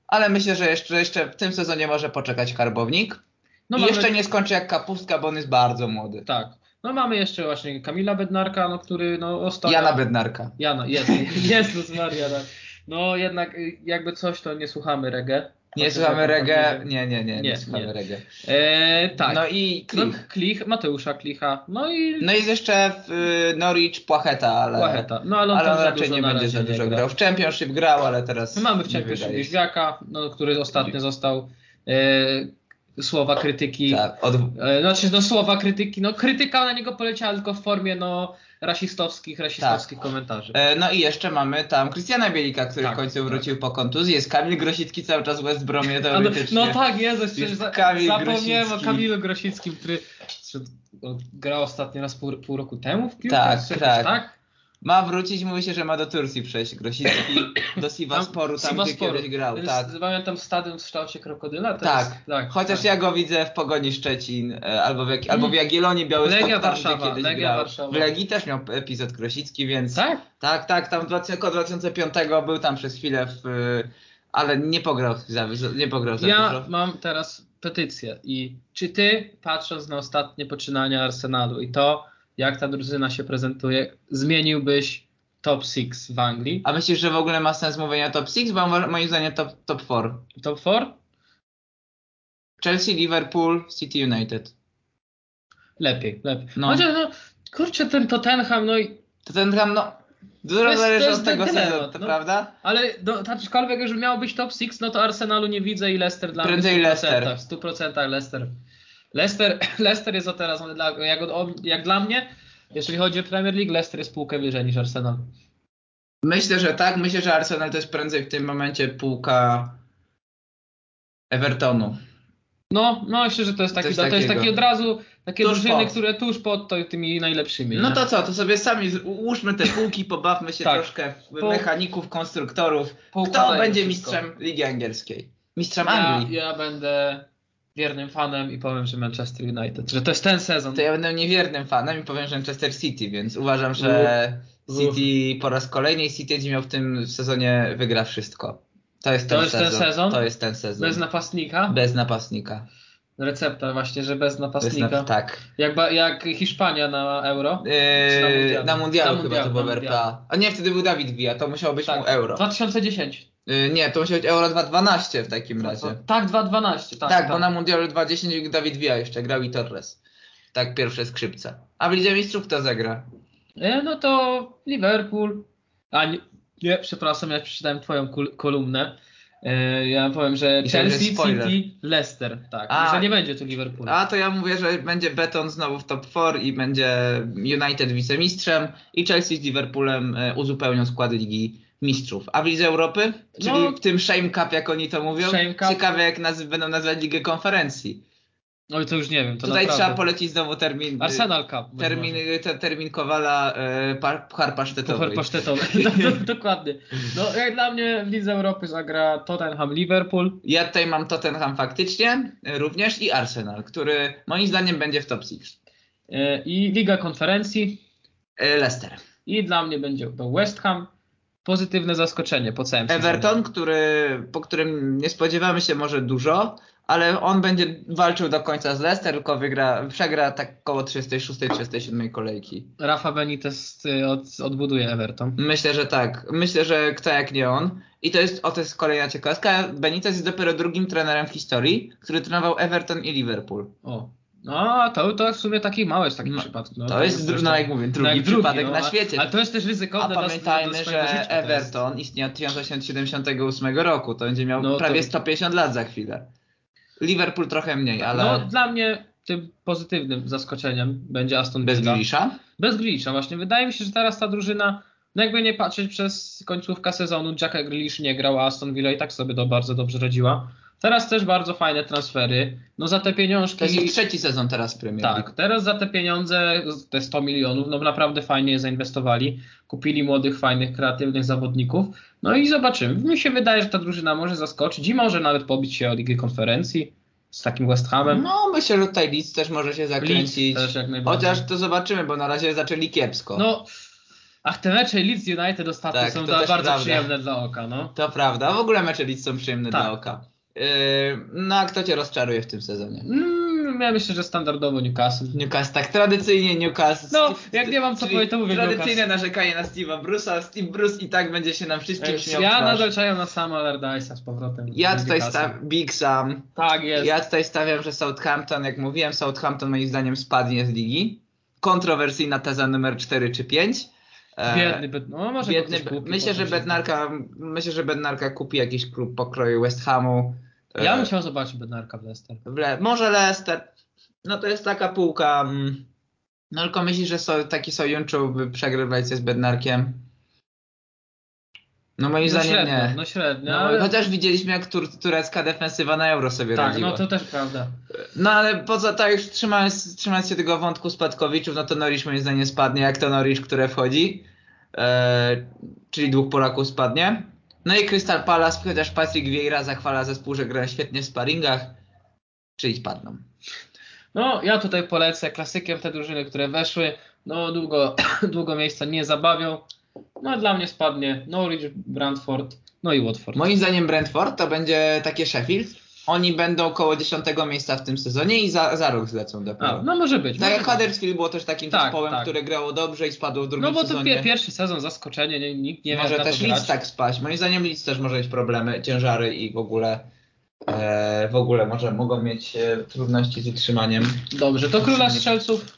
Ale myślę, że jeszcze, jeszcze w tym sezonie może poczekać karbownik. No I mamy- jeszcze nie skończy jak kapustka, bo on jest bardzo młody. Tak. No mamy jeszcze właśnie Kamila Bednarka, no, który no ostatnio... Jana Bednarka. Jana, jest, [LAUGHS] Jezus Maria. tak. No jednak y, jakby coś, to nie słuchamy reggae. Nie Chociaż słuchamy jak reggae. naprawdę- Nie, nie, nie, nie, Nie, słuchamy nie. reggae. E, tak. No i Klich. No, Klich, Mateusza Klicha, no i No i jeszcze w y, Norwich Płacheta, ale, Płacheta. No ale on, ale tam on za raczej dużo nie na będzie razie za dużo nie gra. grał. W Championship grał, ale teraz No mamy w nie Championship wydaje się. Liźwiaka, no, który ostatnio został e, słowa krytyki. Tak, od... E, Znaczy, no słowa krytyki, no krytyka na niego poleciała tylko w formie no rasistowskich, rasistowskich komentarzy. e, No i jeszcze mamy tam Krystiana Bielika, który Tak, w końcu tak. wrócił po kontuzji. Jest Kamil Grosicki cały czas w West Bromie A [LAUGHS] no, teoretycznie. no tak, Jezus, przecież Jest za- Kamil zapomniałem Grosicki. o Kamilu Grosickim, który przed- o, grał ostatni raz pół, pół roku temu w piłce, Tak, czy jakoś tak. tak? Ma wrócić, mówi się, że ma do Turcji przejść. Grosicki do Sivasporu, tam gdzie Sivasporu. kiedyś grał. To jest- Tak. Pamiętam stadion w kształcie krokodyla. to Tak. jest- tak Chociaż tak. ja go widzę w Pogoni Szczecin e, albo w, jak, Mm. albo w Jagiellonii Białystok, Legia tam Warszawa, gdzie kiedyś Legia grał. Warszawa. W Legii też miał epizod Grosicki, więc Tak? tak, tak, tam 20, około 2005 był tam przez chwilę, w, y, ale nie pograł za, wys- nie pograł za Ja dużo. mam teraz petycję i czy ty, patrząc na ostatnie poczynania Arsenalu i to, jak ta drużyna się prezentuje, zmieniłbyś top 6 w Anglii? A myślisz, że w ogóle ma sens mówienia top 6, bo mo- moim zdaniem top, top 4. Top 4? Chelsea, Liverpool, City United. Lepiej, lepiej. No. Chociaż no, kurczę, ten Tottenham, no i, To ten tam, no, dużo To jest- to zależy jest od tego dylemat, sezonu, to no. prawda? ale do, aczkolwiek, że miał być top 6, no to Arsenalu nie widzę i Leicester dla Prędzej mnie Leicester. w 100% Leicester. Leicester, [CLEARS THROAT] Leicester jest o teraz, on dla, jak, on- jak dla mnie, jeżeli chodzi o Premier League, Leicester jest półkę wyżej niż Arsenal. Myślę, że tak. Myślę, że Arsenal to jest prędzej w tym momencie półka Evertonu. No, no myślę, że to jest taki, Coś to jest taki takiego. od razu takie Tuż drużyny, pod. które tuż pod to, tymi najlepszymi. No nie? to co, to sobie sami z- ułóżmy te półki, pobawmy się Tak. troszkę w Po- mechaników, konstruktorów. Kto Poukładajmy będzie wszystko. mistrzem Ligi Angielskiej? Mistrzem Ja, Anglii. ja będę wiernym fanem i powiem, że Manchester United, że to jest ten sezon. No To ja będę niewiernym fanem i powiem, że Manchester City, więc uważam, że Uff. City po raz kolejny i City będzie miał w tym sezonie wygra wszystko. To jest To ten, jest ten sezon. sezon? To jest ten sezon. Bez napastnika? Bez napastnika. Recepta właśnie, że bez Bez napastnika. nap- tak. jak, ba- jak Hiszpania na Euro. Eee, Na mundialu. na mundialu Na chyba mundialu, to było na w RPA. A nie, wtedy był Dawid Villa, to musiało być Tak. mu euro. 2010. Eee, nie, to musiało być euro 2.12 w takim razie. Tak, 2012. Tak, Tak, bo na mundialu 2.10 Dawid Villa jeszcze grał i Torres. Tak, pierwsze skrzypce. A w Lidze Mistrzów kto zagra? E, No to Liverpool. A nie, nie przepraszam, ja przeczytałem twoją kol- kolumnę. E, Ja powiem, że Myślałem, że Chelsea, spoiler. City, Leicester. Tak, A. że nie będzie tu Liverpoola. A to ja mówię, że będzie Beton znowu w top 4 i będzie United wicemistrzem i Chelsea z Liverpoolem e, uzupełnią skład Ligi Mistrzów. A w Lidze Europy? Czyli No. w tym Shame Cup, jak oni to mówią. Shame Cup. Ciekawe, jak naz- będą nazwać Ligę Konferencji. Oj, to już nie wiem, to Tutaj naprawdę. trzeba polecić znowu termin. y, Arsenal Cup. być Termin, może. te, termin Kowala e, pa- Puchar Puchar Pasztetowy. [LAUGHS] [LAUGHS] pasztetowy. No Do- Dokładnie. No, jak dla mnie w Lidze Europy zagra Tottenham, Liverpool. Ja tutaj mam Tottenham faktycznie e, również i Arsenal, który moim zdaniem będzie w top 6. e, I Liga Konferencji. E, Leicester. I dla mnie będzie to West Ham. Pozytywne zaskoczenie po całym sezonie. Everton, który, po którym nie spodziewamy się może dużo, ale on będzie walczył do końca z Leicester, tylko wygra, przegra tak około 36-37 kolejki. Rafa Benitez y, od, odbuduje Everton. Myślę, że tak. Myślę, że kto jak nie on. I to jest, o to jest kolejna ciekawostka. Benitez jest dopiero drugim trenerem w historii, który trenował Everton i Liverpool. O. No, to, to w sumie taki mały jest tak. taki No, przypadek. to jest, dru- no jak mówię, drugi przypadek na świecie. no. Ale to jest też ryzykowne A dla- pamiętajmy, dla swojego że życia to jest. Everton istnieje od 1878 roku, to będzie miał No to- prawie 150 lat za chwilę. Liverpool trochę mniej, ale No, dla mnie tym pozytywnym zaskoczeniem będzie Aston bez Villa. Glisza. Bez Grealisha właśnie. Wydaje mi się, że teraz ta drużyna, no jakby nie patrzeć przez końcówkę sezonu, Jacka Grealish nie grał, a Aston Villa i tak sobie to bardzo dobrze radziła. Teraz też bardzo fajne transfery. No za te pieniążki. To jest ich trzeci sezon teraz Premier League. Tak, teraz za te pieniądze, te 100 milionów, no naprawdę fajnie je zainwestowali. Kupili młodych, fajnych, kreatywnych zawodników. No i zobaczymy. Mi się wydaje, że ta drużyna może zaskoczyć i może nawet pobić się o Ligę Konferencji z takim West Hamem. No, myślę, że tutaj Leeds też może się zakręcić. Leeds też jak najbardziej. Chociaż to zobaczymy, bo na razie zaczęli kiepsko. No, ach, te mecze Leeds United ostatnio Tak, są to da- też bardzo prawda. przyjemne dla oka, no. To prawda, w ogóle mecze Leeds są przyjemne Tak. dla oka. Yy, no a kto cię rozczaruje w tym sezonie? Mm, ja myślę, że standardowo Newcastle. Newcastle, tak tradycyjnie Newcastle. No, Steve- jak nie mam co czyli powiedzieć, to mówię Tradycyjne Newcastle. narzekanie na Steve'a Bruce'a. Steve Bruce i tak będzie się nam wszystkim śmiał w Ja twarz. nadal czaję na sama Allardyce'a z powrotem. Ja do tutaj Newcastle. stawiam Big Sam. Tak jest. Ja tutaj stawiam, że Southampton, jak mówiłem, Southampton moim zdaniem spadnie z ligi. Kontrowersyjna teza numer 4 czy 5. E, Biedny, bet... no może biedny, go ktoś kupi, myślę, że potem się- Bednarka, myślę, że Bednarka kupi jakiś klub pokroju West Hamu. E, Ja bym chciał zobaczyć Bednarka w Leicester. w Le- Może Leicester. No to jest taka półka. mm. No tylko myślisz, że so, taki Sojunczu by przegrywać się z Bednarkiem? No moim no zdaniem średnio, nie. no średnio, No, ale... Chociaż widzieliśmy, jak tur- turecka defensywa na euro sobie tak, radziła. no to też prawda. No ale poza tak, już trzymając, trzymając się tego wątku spadkowiczów, no to Norwich moim zdaniem spadnie, jak to Norwich, które wchodzi, e, czyli dwóch Polaków spadnie. No i Crystal Palace, chociaż Patrick Vieira zachwala zespół, że grają świetnie w sparingach, czyli spadną. No, ja tutaj polecę klasykiem te drużyny, które weszły. No, długo, [CLEARS THROAT] długo miejsca nie zabawią. No, dla mnie spadnie Norwich, Brantford, no i Watford. Moim zdaniem Brentford to będzie takie Sheffield. Oni będą około 10 miejsca w tym sezonie i za, za rok zlecą dopiero. A, no, może być. tak może jak być. Huddersfield było też takim Tak, zespołem, tak. które grało dobrze i spadło w drugim No, bo to sezonie. pie- pierwszy sezon, zaskoczenie, nie, nikt nie może wie, jak na też to grać. Leeds tak spaść. Moim zdaniem Leeds też może mieć problemy, ciężary i w ogóle e, w ogóle może mogą mieć e, trudności z utrzymaniem. Dobrze, to Króla Strzelców.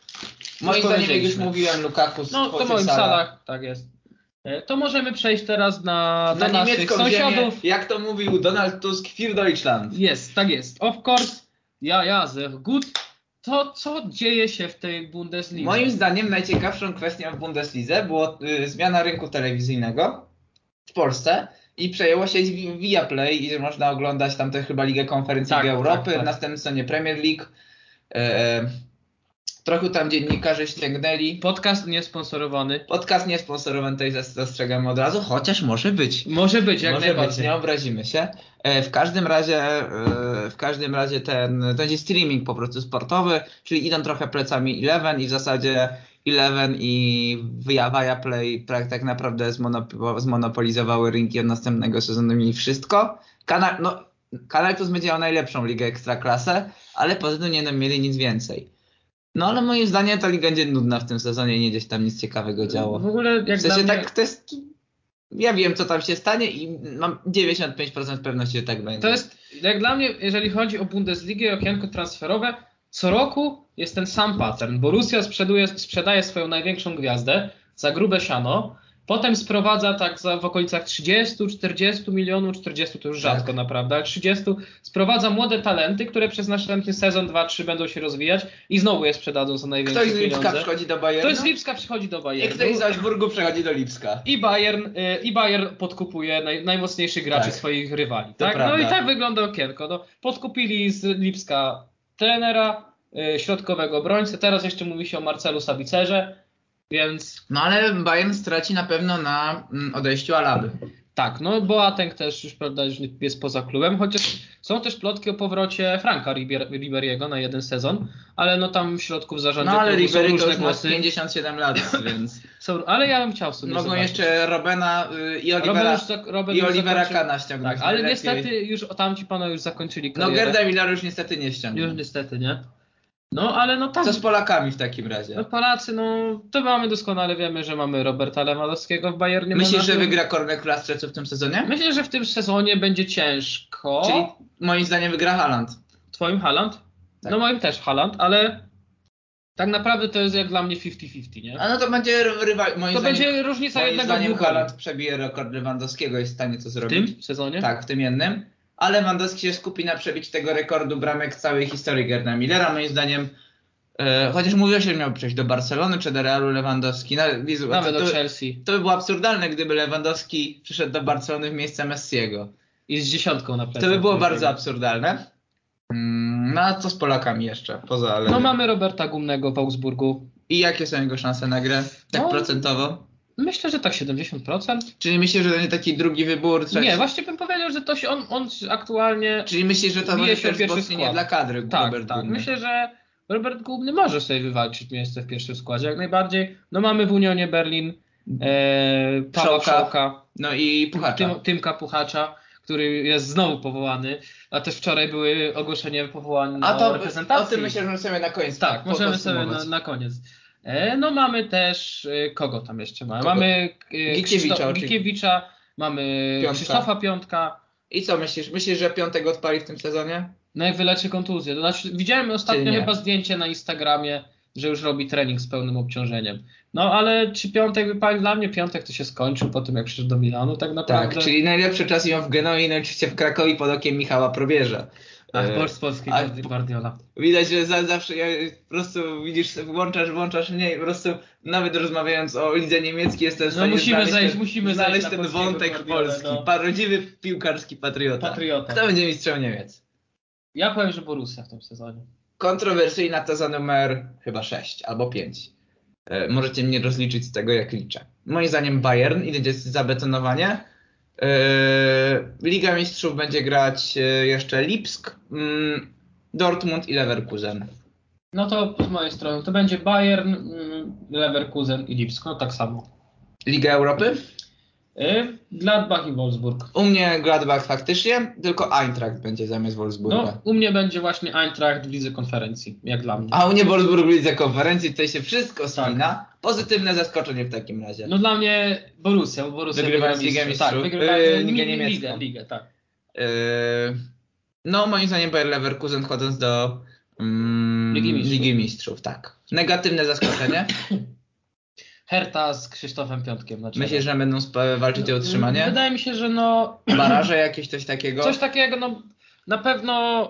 Moim zdaniem, jak już No, powiedzieliśmy. mówiłem, Lukaku z No, to Wojciech moim Sala. salach, tak jest. E, To możemy przejść teraz na, do Na naszych niemiecką ziemię, sąsiadów. jak to mówił Donald Tusk, Fir Deutschland. Jest, tak jest. Of course, ja, ja, sehr gut. To co dzieje się w tej Bundeslidze? Moim zdaniem najciekawszą kwestią w Bundeslidze była y, zmiana rynku telewizyjnego w Polsce i przejęło się wi- Viaplay i że można oglądać tam tę chyba Ligę Konferencji Tak, Europy, tak, tak. w następnym sezonie Premier League. E, trochę tam dziennikarze ściągnęli. Podcast niesponsorowany. Podcast niesponsorowany tutaj zas- zastrzegamy od razu, chociaż może być. Może być, jak Może być, najbardziej. nie obrazimy się. E, W każdym razie, e, w każdym razie ten, to będzie streaming po prostu sportowy, czyli idą trochę plecami Eleven i w zasadzie Eleven i Via Play tak naprawdę zmonop- zmonopolizowały rynki od następnego sezonu i wszystko. Kanal, no, kanal Plus będzie miał najlepszą ligę ekstraklasę, ale poza tym nie będą mieli nic więcej. No ale moim zdaniem ta liga będzie nudna w tym sezonie, nie gdzieś tam nic ciekawego działo. W ogóle jak W sensie dla mnie, tak to jest. Ja wiem, co tam się stanie i mam 95% pewności, że tak będzie. to jest, jak dla mnie, jeżeli chodzi o Bundesligę i okienko transferowe, co roku jest ten sam pattern. Borussia sprzeduje, sprzedaje swoją największą gwiazdę za grube siano, potem sprowadza tak za, w okolicach 30, 40 milionów, 40 to już Tak. rzadko naprawdę, ale 30, sprowadza młode talenty, które przez następny sezon, 2-3 będą się rozwijać i znowu je sprzedadzą za największe Ktoś z pieniądze. Lipska przychodzi do Bayernu. Ktoś z Lipska przychodzi do I Bayernu. ktoś z Augsburgu przechodzi do Lipska. I Bayern, y, i Bayern podkupuje naj, najmocniejszych graczy Tak. swoich rywali. To Tak? No prawda. i tak wygląda okienko. No, podkupili z Lipska trenera, y, środkowego obrońcę. Teraz jeszcze mówi się o Marcelu Sabicerze, więc No ale Bayern straci na pewno na mm, odejściu Alaby. tak, no Boateng też już prawda już jest poza klubem, chociaż są też plotki o powrocie Franka Ribier- Riberiego na jeden sezon, ale no tam środków No zarządu ale klubu są Ribery to różne już ma głosy. 57 [LAUGHS] lat, więc Są, ale ja bym chciał sobie mogą zobaczyć. jeszcze Robena y, i Robert Olivera, już zak- Robert i już Olivera zakończył- Kana ściągnąć. Tak, ale najlepiej. niestety już tamci panowie już zakończyli No karierę. Gerda Miller już niestety nie Już ściągnął. niestety, nie? No, ale no tam. Co z Polakami w takim razie? No Polacy, no to mamy doskonale, wiemy, że mamy Roberta Lewandowskiego w Bayernie. Myślisz, że Monachium. wygra Kornek Klastrzec w tym sezonie? Myślę, że w tym sezonie będzie ciężko. Czyli moim zdaniem wygra Haaland. Twoim Haaland? Tak. No moim też Haaland, ale tak naprawdę to jest jak dla mnie 50-50, nie? A no to będzie rywal, moim To zdaniem, będzie różnica moim jednego zdaniem dwóch goli. Haaland przebije rekord Lewandowskiego, jest w stanie to w zrobić. tym sezonie. Tak, w tym jednym. Ale Lewandowski się skupi na przebić tego rekordu bramek całej historii Gerda Millera, moim zdaniem. E, chociaż mówiło się, że miał przejść do Barcelony czy do Realu Lewandowski. No, Jezu, Nawet to, do Chelsea. to by było absurdalne, gdyby Lewandowski przyszedł do Barcelony w miejsce Messiego. I z dziesiątką na plecach. To by było bardzo Dlatego. absurdalne. Mm, No a co z Polakami jeszcze, poza ale... No mamy Roberta Gumnego w Augsburgu. I jakie są jego szanse na grę, tak No. procentowo? Myślę, że tak 70%. Czyli myślisz, że to nie taki drugi wybór? Trzeci? Nie, właśnie bym powiedział, że to się on, on aktualnie. Czyli myślisz, że to Bije będzie się też pierwszy wzmocnienie skład. dla kadry Tak, Robert tak. Górny? Myślę, że Robert Gubny może sobie wywalczyć miejsce w pierwszym składzie, jak najbardziej. No mamy w Unionie Berlin e, Pawła Szołka. Szołka, No i Puchacza. Tym, Tymka Puchacza, który jest znowu powołany, a też wczoraj były ogłoszenia powołań na A to reprezentacji. o tym myślę, że możemy na koniec. Tak, po- możemy sobie podsumować. na, na koniec. E, no mamy też, e, kogo tam jeszcze mamy? Kogo? Mamy e, Gikiewicza, Krzysztof- oczywiście. Gikiewicza, mamy Piątka. Krzysztofa Piątka, I co myślisz? Myślisz, że piątek odpali w tym sezonie? no jak wyleczy kontuzję. To znaczy, widziałem ostatnio Czy nie? chyba zdjęcie na Instagramie, że już robi trening z pełnym obciążeniem. No ale czy Piątek wypalił? Dla mnie Piątek to się skończył po tym, jak przyszedł do Milanu, tak naprawdę. Tak, czyli najlepszy czas ją w Genoi, no i oczywiście w Krakowie pod okiem Michała Probierza. Ach, E, Borsz Polski, a- Guardiola. Widać, że za, zawsze ja, po prostu widzisz, włączasz, włączasz mnie i po prostu nawet rozmawiając o lidze niemieckiej jestem w No stanie musimy znaleźć zejść, ten, musimy znaleźć zejść na ten polskiego wątek Guardiolę, polski. no. Parodziwy piłkarski patriota. Patriota. Kto będzie mistrzem Niemiec? Ja powiem, że Borussia w tym sezonie. Kontrowersyjna teza numer chyba 6 albo 5. E, możecie mnie rozliczyć z tego, jak liczę. Moim zdaniem Bayern idzie z zabetonowania. E, Liga Mistrzów będzie grać e, jeszcze Lipsk, mm, Dortmund i Leverkusen. No to z mojej strony to będzie Bayern, mm, Leverkusen i Lipsk, no tak samo. Liga Europy? Y, Gladbach i Wolfsburg. U mnie Gladbach faktycznie, tylko Eintracht będzie zamiast Wolfsburga. No, u mnie będzie właśnie Eintracht w lidze konferencji, jak dla mnie. A u mnie Wolfsburg w lidze konferencji, tutaj się wszystko spina. Pozytywne zaskoczenie w takim razie. Tak. No dla mnie Borussia, bo Borussia Wygrywa wygra Ligę mistrzostw. Tak, Mistrzów. wygrywa Y, li- Ligę li- Niemiecką. Ligę, ligę, tak. Yy, no moim zdaniem Bayer Leverkusen wchodząc do mm, Ligi Mistrzów. Ligi Mistrzów, tak. Negatywne zaskoczenie. Herta z Krzysztofem Piątkiem na czele. Myślisz, że będą sp- walczyć o utrzymanie? No, Wydaje mi się, że no Baraże jakieś coś takiego? Coś takiego, no na pewno,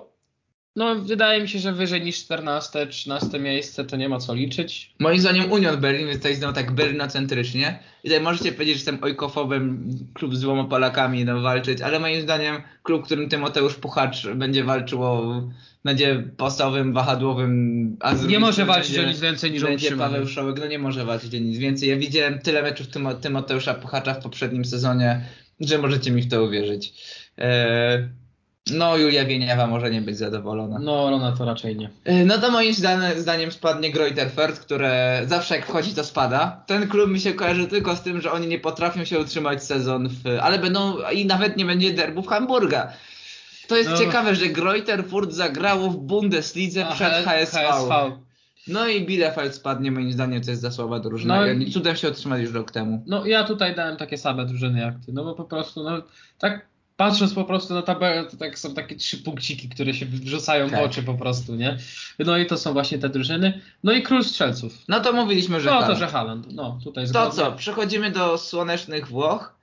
no wydaje mi się, że wyżej niż 14, 13 miejsce to nie ma co liczyć. Moim zdaniem Union Berlin jest tutaj znowu tak berlinocentrycznie. I tutaj możecie powiedzieć, że jestem ojkofobem, klub z dwoma Polakami no, walczyć, ale moim zdaniem klub, w którym Tymoteusz Puchacz będzie walczył o, będzie pasowym, wahadłowym, a z drugiej Nie może strony walczyć będzie- o nic więcej niż o będzie utrzymanie. Paweł Szołek, no nie może walczyć o nic więcej. Ja widziałem tyle meczów Tymo- Tymoteusza Puchacza w poprzednim sezonie, że możecie mi w to uwierzyć. Eee, no, Julia Wieniawa może nie być zadowolona. No, Rona to raczej nie. E, No to moim zdaniem, zdaniem spadnie Greuterfurt, które zawsze jak wchodzi to spada. Ten klub mi się kojarzy tylko z tym, że oni nie potrafią się utrzymać sezon, w, ale będą i nawet nie będzie derbów Hamburga. To jest No. ciekawe, że Greuterfurt zagrało w Bundeslidze A, przed HSV. HSV. No i Bielefeld spadnie moim zdaniem, to jest za słaba drużyna. No No i- Oni cudem się otrzymali już rok temu. No ja tutaj dałem takie same drużyny jak ty, no bo po prostu, no tak patrząc po prostu na tabelę, to tak są takie trzy punkciki, które się wrzucają w Tak. oczy po prostu, nie? No i to są właśnie te drużyny. No i król strzelców. No to mówiliśmy, że No to, tak. że Haaland, no tutaj To zgodnie. co, przechodzimy do słonecznych Włoch.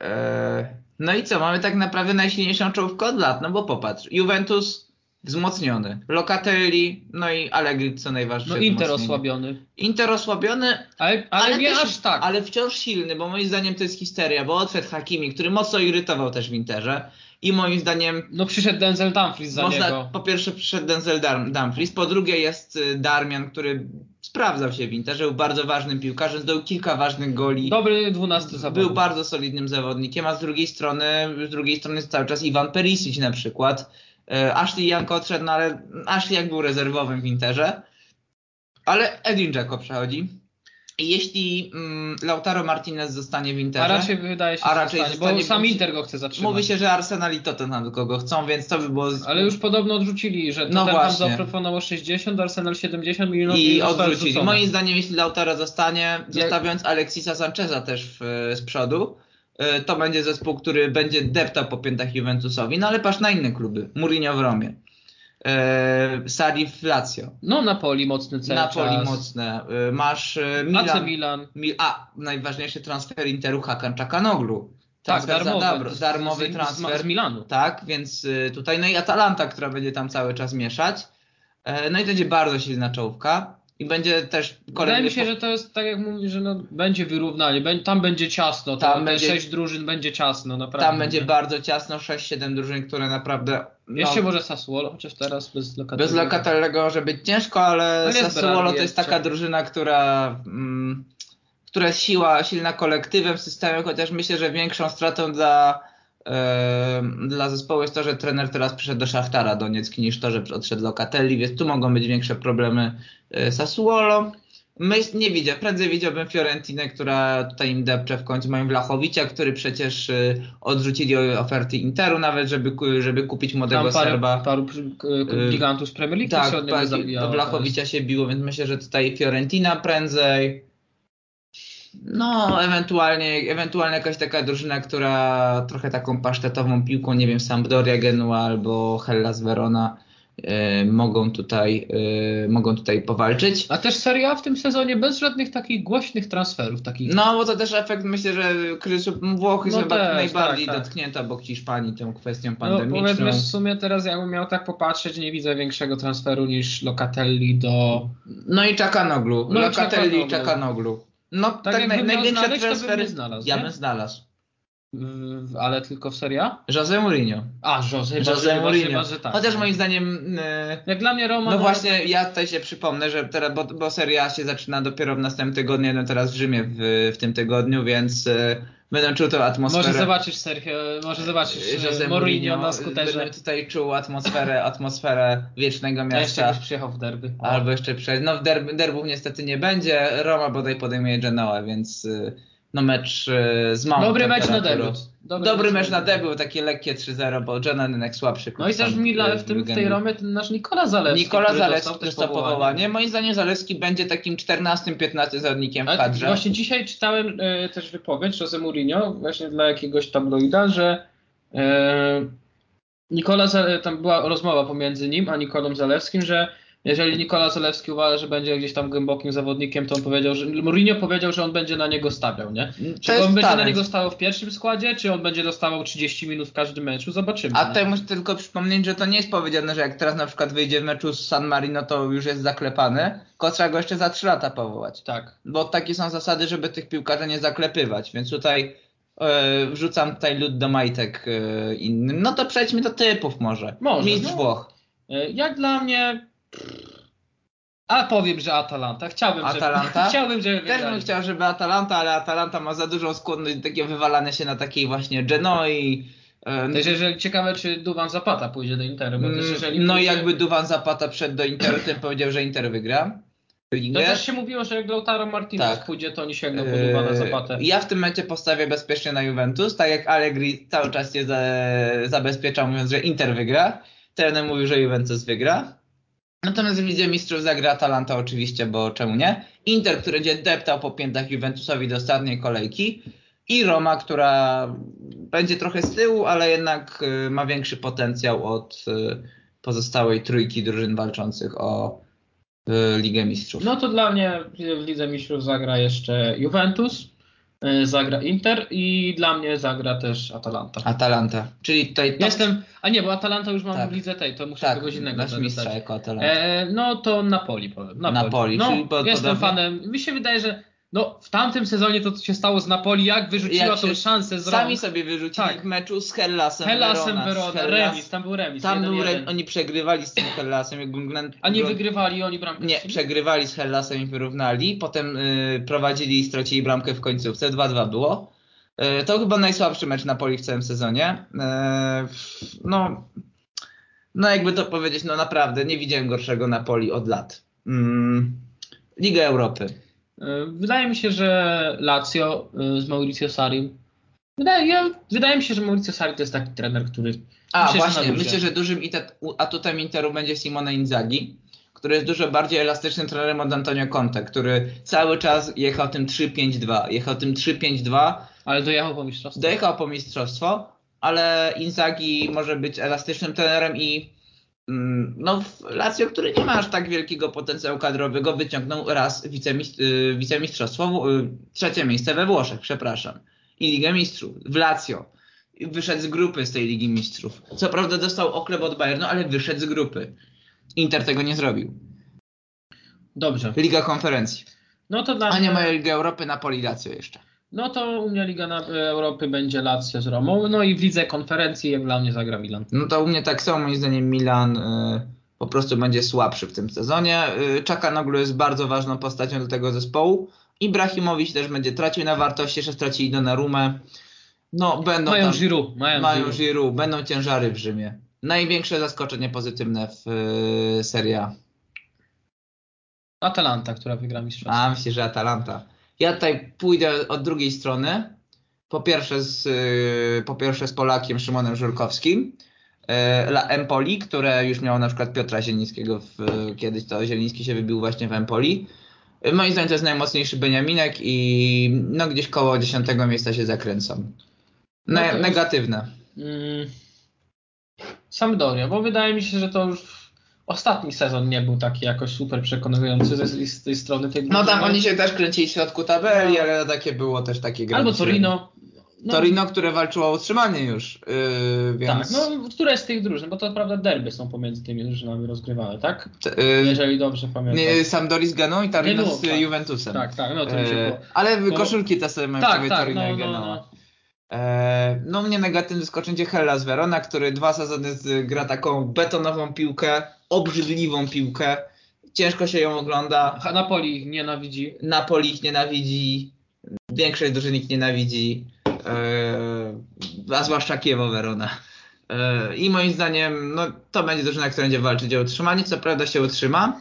Eee, No i co, mamy tak naprawdę najsilniejszą czołówkę od lat, no bo popatrz, Juventus wzmocniony, Locatelli, no i Allegri, co najważniejsze. No Inter wzmocnienie. osłabiony. Inter osłabiony, Ale, ale, nie też- aż tak. Ale wciąż silny, bo moim zdaniem to jest histeria, bo odszedł Hakimi, który mocno irytował też w Interze i moim zdaniem No przyszedł Denzel Dumfries za można, niego. po pierwsze przyszedł Denzel Dam- Dumfries, po drugie jest y, Darmian, który sprawdzał się w Interze, był bardzo ważnym piłkarzem, zdobył kilka ważnych goli. Dobry 12 zawodnik. Był bardzo solidnym zawodnikiem, a z drugiej strony, z drugiej strony jest cały czas Iwan Perisic na przykład. E, Ashley Young odszedł, no ale Ashley Young był rezerwowym w Interze. Ale Edwin Dzeko przechodzi. I jeśli mm, Lautaro Martinez zostanie w Interze, A raczej wydaje się, A że raczej zostanie, bo zostanie- sam Inter go chce zatrzymać. mówi się, że Arsenal i Tottenham tylko go chcą, więc to by było... z- Ale już podobno odrzucili, że No Tottenham właśnie. zaproponowało 60, Arsenal 70 milionów I zostało odwrócili. odrzucone. Moim zdaniem, jeśli Lautaro zostanie, zostawiając Alexisa Sancheza też w, z przodu, y, to będzie zespół, który będzie deptał po piętach Juventusowi. No ale patrz na inne kluby. Mourinho w Romie. Yy, Sari w Lazio. No Napoli mocny cały Napoli czas. Znaczy mocne. Y, masz y, AC Milan. Milan. Mil- a, najważniejszy transfer Interu Hakan Czakanoğlu. Tak, Transfer za darmowy, Dabro, z- darmowy z, transfer. Z, z Milanu. Tak, więc y, tutaj, no i Atalanta, która będzie tam cały czas mieszać. E, No i to będzie bardzo silna czołówka. I będzie też Wydaje kolejny... mi się, że to jest tak jak mówisz, że no, będzie wyrównanie, będzie, tam będzie ciasno, Tam tam te będzie- sześć drużyn będzie ciasno, naprawdę. Tam będzie nie? bardzo ciasno, 6-7 drużyn, które naprawdę... no, Jeszcze może Sassuolo, chociaż teraz bez lokatów. Bez Lokatellego, może być ciężko, ale Ale jest Sassuolo Berardi to jest jeszcze. taka drużyna, która, mm, która jest siła, silna kolektywem, systemem, chociaż myślę, że większą stratą dla, e, dla zespołu jest to, że trener teraz przyszedł do Szachtara Doniecki niż to, że odszedł Lokatelli, więc tu mogą być większe problemy e, Sassuolo. Myśl, nie widzę, prędzej widziałbym Fiorentinę, która tutaj im depcze w końcu. Mają Wlachowicza, który przecież e, odrzucili oferty Interu nawet, żeby, ku- żeby kupić młodego Tam parę, Serba. paru przy- k- Y, gigantów z Premier League Tak, się od niego tak zabijało. tak. do Blachowicza się biło, więc myślę, że tutaj Fiorentina prędzej. No, ewentualnie, ewentualnie jakaś taka drużyna, która trochę taką pasztetową piłką, nie wiem, Sampdoria Genua albo Hellas Verona e, mogą, tutaj, e, mogą tutaj powalczyć. A też Serie A w tym sezonie bez żadnych takich głośnych transferów, takich No, bo to też efekt, myślę, że kryzysu Włochy są No chyba też, najbardziej tak, tak. dotknięta obok Hiszpanii tą kwestią No, pandemiczną. powiedzmy w sumie teraz jakbym miał tak popatrzeć, nie widzę większego transferu niż Locatelli do... No i Czakanoglu. No i Lokatelli i Czakanoglu. Czakanoglu. No tak, jakbym naj, miał największe znaleźć, to bym transfery nie znalazł, ja nie? bym znalazł. w- ale tylko w Serie A? Jose Mourinho. A, Jose, Jose Jose chyba, Mourinho. Chyba, że tak. Chociaż moim zdaniem... e, Jak dla mnie Roma... No właśnie, ja tutaj się przypomnę, że teraz, bo, bo seria się zaczyna dopiero w następnym tygodniu, no teraz w Rzymie w, w tym tygodniu, więc e, będę czuł tą atmosferę. E, Może zobaczysz Sergio, może zobaczysz Jose Jose Mourinho na skuterze. Będę tutaj czuł atmosferę, atmosferę wiecznego A jeszcze miasta. byś przyjechał w derby. Albo jeszcze przed. No, derb, derbów niestety nie będzie. Roma bodaj podejmuje Genoa, więc y, no mecz y, z małą Dobry mecz na temperaturą. debiut. Dobry, mecz na debiut, takie lekkie 3-0, bo Genoa najsłabszy. No i też w, Mila, w, tym, w tej Romie ten nasz Nikola Zalewski, e, Nikola który Zalewski też dostał powołanie. Moim zdaniem Zalewski będzie takim 14-15 zawodnikiem w Ale kadrze. Właśnie dzisiaj czytałem e, też wypowiedź Jose Mourinho, właśnie dla jakiegoś tabloida, że e, Nikola, Za- e, tam była rozmowa pomiędzy nim a Nikolą Zalewskim, że jeżeli Nikola Zalewski uważa, że będzie gdzieś tam głębokim zawodnikiem, to on powiedział, że Mourinho powiedział, że on będzie na niego stawiał, nie? Czy To jest on będzie na talent. niego stawał w pierwszym składzie, czy on będzie dostawał 30 minut w każdym meczu? Zobaczymy. no. A nie? tutaj muszę tylko przypomnieć, że to nie jest powiedziane, że jak teraz na przykład wyjdzie w meczu z San Marino, to już jest zaklepany, tylko trzeba go jeszcze za 3 lata powołać. Tak. bo takie są zasady, żeby tych piłkarzy nie zaklepywać, więc tutaj e, wrzucam tutaj lód do majtek e, innym. No to przejdźmy do typów może. Może, Mistrz no. Włoch. E, Jak dla mnie... A powiem, że Atalanta. Chciałbym, Atalanta? Żeby, [LAUGHS] chciałbym, żeby Też bym wygrali. chciał, żeby Atalanta, ale Atalanta ma za dużą skłonność do takiego wywalania się na takiej właśnie Genoi. e, Też jeżeli ciekawe, czy Duwan Zapata pójdzie do Interu, bo też jeżeli No i pójdzie, jakby Duwan Zapata przed do Interu, tym powiedział, że Inter wygra. No Ligę. też się mówiło, że jak Lautaro Martinez Tak. pójdzie, to oni sięgną po Duwana Zapatę. Yy, Ja w tym mecie postawię bezpiecznie na Juventus, tak jak Allegri cały czas je za, zabezpieczał, mówiąc, że Inter wygra. Trener mówił, że Juventus wygra. Natomiast w Lidze Mistrzów zagra Atalanta oczywiście, bo czemu nie? Inter, który będzie deptał po piętach Juventusowi do ostatniej kolejki i Roma, która będzie trochę z tyłu, ale jednak y, ma większy potencjał od y, pozostałej trójki drużyn walczących o y, Ligę Mistrzów. No to dla mnie w Lidze Mistrzów zagra jeszcze Juventus, y, zagra Inter i dla mnie zagra też Atalanta. Atalanta. Czyli tutaj top Jestem, a nie, bo Atalanta już mam Tak. w lidze tej, to muszę Tak, kogoś innego nasz dodać. mistrza jako Atalanta. E, no to Napoli powiem. Napoli. Napoli, no, czyli podobnie- jestem fanem. Mi się wydaje, że no, w tamtym sezonie to co się stało z Napoli, jak wyrzuciła Jak się tą szansę z Sami rąk. sobie wyrzucili Tak. w meczu z Hellasem Hellasem Verona. z Verona, Hellas- remis, tam był remis. Tam był re... 1-1. oni przegrywali z tym Hellasem. jak Gunglen- A nie Gung- wygrywali oni bramkę? Nie, przegrywali z Hellasem i wyrównali. Potem y, prowadzili i stracili bramkę w końcówce. 2-2 było. Y, to chyba najsłabszy mecz Napoli w całym sezonie. Y, w- no, no, jakby to powiedzieć, no naprawdę nie widziałem gorszego Napoli od lat. Mm, Liga Europy. Y, Wydaje mi się, że Lazio y, z Mauricio Sarim. Wydaje, ja, wydaje mi się, że Mauricio Sarri to jest taki trener, który. A Myślę, że właśnie, na duże. myślę, że dużym ite- u- atutem Interu będzie Simone Inzaghi, który jest dużo bardziej elastycznym trenerem od Antonio Conte, który cały czas jechał tym 3-5-2, jechał tym 3-5-2, Ale dojechał po mistrzostwie. dojechał po mistrzostwo, ale Inzaghi może być elastycznym trenerem i mm, no, w Lazio, który nie ma aż tak wielkiego potencjału kadrowego, wyciągnął raz wicemistrz- y, wicemistrzostwo, w- y, trzecie miejsce we Włoszech, przepraszam, i Ligę Mistrzów, w Lazio. I Wyszedł z grupy z tej Ligi Mistrzów. Co prawda dostał oklep od Bayernu, ale wyszedł z grupy. Inter tego nie zrobił. Dobrze. Liga Konferencji. No to dla A nie mnie, mają Ligę Europy, Napoli, Lazio jeszcze. no to u mnie Liga na, Europy będzie Lazio z Romą. No i w Lidze Konferencji jak dla mnie zagra Milan. No to u mnie tak samo, moim zdaniem Milan y, po prostu będzie słabszy w tym sezonie. Y, Czakanoglu jest bardzo ważną postacią do tego zespołu. Ibrahimowicz też będzie tracił na wartości, jeszcze stracili Donnarumę. No będą Mają tam, Giroud, mają, mają Giroud. Giroud, będą ciężary w Rzymie. Największe zaskoczenie pozytywne w y, Serie A. Atalanta, która wygra mistrzostwo. A myślę, że Atalanta. Ja tutaj pójdę od drugiej strony. Po pierwsze z, y, po pierwsze z Polakiem Szymonem Żurkowskim. y, La Empoli, które już miało na przykład Piotra Zielińskiego w, kiedyś, to Zieliński się wybił właśnie w Empoli. Y, Moim zdaniem to jest najmocniejszy Beniaminek i no gdzieś koło 10 miejsca się zakręcam. No Ne- to już- Negatywne. Mm, Sampdoria, bo wydaje mi się, że to już ostatni sezon nie był taki jakoś super przekonujący ze, z tej strony tej No tam drużyny. oni się też kręcili w środku tabeli, No. ale takie było też takie Albo granice. Torino. No, Torino, które walczyło o utrzymanie już, y, Tak, więc... no które z tych drużyn, bo to prawda derby są pomiędzy tymi drużynami rozgrywane, tak? T- y, Jeżeli dobrze pamiętam. Nie, Sampdori z Ganą i Torino Genuą, z tak. Juventusem. Tak, tak, no to mi się E, było. ale bo- koszulki te sobie mają Tak, sobie tak, Torino no, i no, Genoa. no. E, no mnie negatywnym zaskoczenie Hellas Verona, który dwa sezony z- gra taką betonową piłkę, obrzydliwą piłkę. Ciężko się ją ogląda. A Napoli ich nienawidzi. Napoli ich nienawidzi, większość drużyn ich nienawidzi, e, a zwłaszcza Kiewo Verona. E, I moim zdaniem no, to będzie drużyna, która będzie walczyć o utrzymanie, co prawda się utrzyma,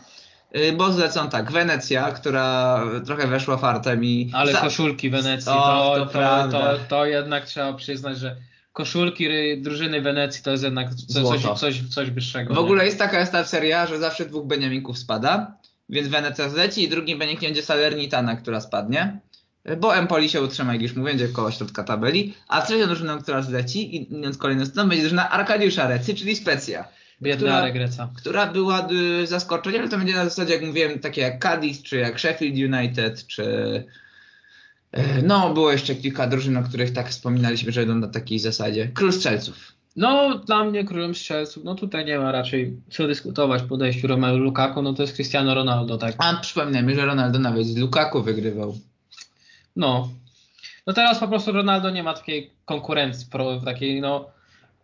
e, bo zlecą tak, Wenecja, która trochę weszła fartem i... Ale za- koszulki Wenecji, O, to, to to, to, prawda. to, jednak trzeba przyznać, że koszulki ry- drużyny Wenecji to jest jednak co, coś, Złoto. coś, coś wyższego. W nie? ogóle jest taka esta seria, że zawsze dwóch Beniaminków spada, więc Wenecja zleci i drugim Beniaminkiem będzie Salernitana, która spadnie, bo Empoli się utrzyma, jak już mówiłem, będzie koło środka tabeli, a trzecią drużyną, która zleci i idąc kolejną stroną, będzie drużyna Arkadiusza Recy, czyli Specja, Biedna która- regreca. która była y, zaskoczeniem, ale to będzie na zasadzie, jak mówiłem, takie jak Cadiz, czy jak Sheffield United, czy... y, No, było jeszcze kilka drużyn, o których tak wspominaliśmy, że idą na takiej zasadzie. Król Strzelców. No, dla mnie królem strzelców, no tutaj nie ma raczej co dyskutować po odejściu Romelu Lukaku, no to jest Cristiano Ronaldo, tak. A przypominajmy, że Ronaldo nawet z Lukaku wygrywał. No. No teraz po prostu Ronaldo nie ma takiej konkurencji, pro, takiej no...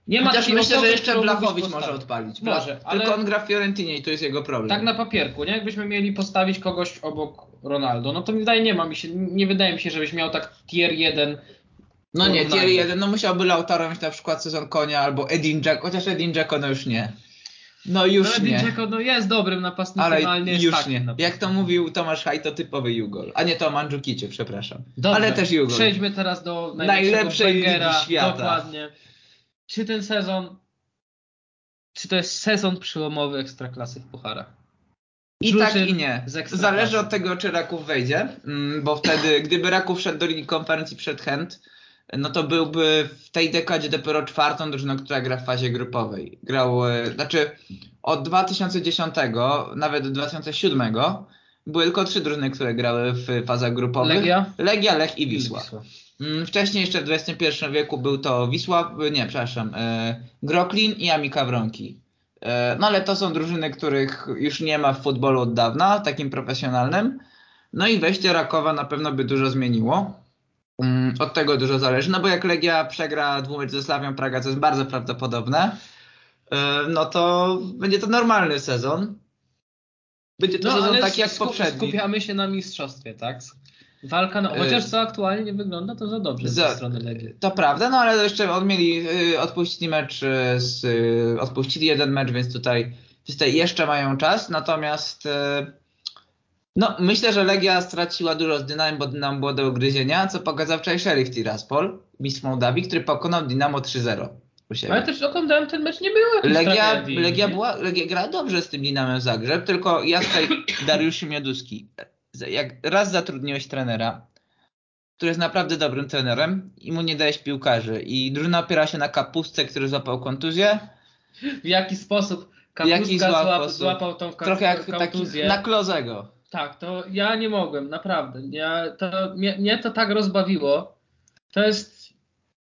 Nie ma Chociaż takiej myślę, osoby, że jeszcze którą Blachowicz mógłbyś może postawić. odpalić. Może, Bla- ale- Tylko on gra w Fiorentinie i to jest jego problem. Tak na papierku, nie? Jakbyśmy mieli postawić kogoś obok Ronaldo, no to mi wydaje, nie ma mi się, nie wydaje mi się, żebyś miał tak tier 1. No nie, Porównanie. Thierry 1, no musiałby Lautaro mieć na przykład sezon konia albo Edin Jack, chociaż Edin Dzeko no już nie. No już Freddy nie. Dzeko, no jest dobrym napastnikiem, ale, Ale nie jest już takim nie. napastnikiem. Jak to mówił Tomasz Haj, to typowy Jugol. A nie, to Mandzukicie, przepraszam. Dobrze, Ale też Jugol. Przejdźmy teraz do Najlepszej najlepszej ligi bangera, świata. Dokładnie. Czy ten sezon, czy to jest sezon przełomowy Ekstraklasy w pucharach? I tak drużyn i nie. z Ekstraklasy. Zależy od tego, czy Raków wejdzie, mm, bo wtedy, gdyby Raków wszedł do Ligi Konferencji przed Chęt, no to byłby w tej dekadzie dopiero czwartą drużyną, która gra w fazie grupowej. Grał, e, znaczy od 2010, nawet do 2007 były tylko trzy drużyny, które grały w fazach grupowych. Legia? Legia, Lech i Wisła. Mm, Wcześniej jeszcze w XXI wieku był to Wisła, y, nie, przepraszam, e, Groklin i Amika Wronki. E, no ale to są drużyny, których już nie ma w futbolu od dawna, takim profesjonalnym. No i wejście Rakowa na pewno by dużo zmieniło. Mm, Od tego dużo zależy, no bo jak Legia przegra dwumecz ze Slawią Praga, co jest bardzo prawdopodobne, e, no to będzie to normalny sezon. Będzie to No, sezon ale taki jak skup, poprzedni. E, skupiamy się na mistrzostwie, tak? Walka na... Chociaż co aktualnie nie wygląda to za dobrze za- ze strony Legii. To prawda, no ale jeszcze on mieli, y, odpuścili mecz, y, z, y, odpuścili jeden mecz, więc tutaj, tutaj jeszcze mają czas, natomiast y, no myślę, że Legia straciła dużo z Dynam, bo Dynam było do ugryzienia, co pokazał wczoraj Sheriff Tiraspol, mistrz Mołdawii, który pokonał Dynamo 3-0 u siebie. Ale też oglądałem ten mecz, nie było jakiejś Legia, tragedii. Legia, była, Legia gra dobrze z tym Dinamem Zagrzeb, tylko ja [CLEARS THROAT] tutaj Dariuszu Mioduski, za- jak raz zatrudniłeś trenera, który jest naprawdę dobrym trenerem i mu nie dajesz piłkarzy i drużyna opiera się na kapustce, który złapał kontuzję, W jaki sposób W jaki Kapuzka zła złapał, sposób? złapał tą ka- trochę jak taki kontuzję. na Klozego. Tak, to ja nie mogłem, naprawdę. Ja, to, mnie, mnie to tak rozbawiło. To jest.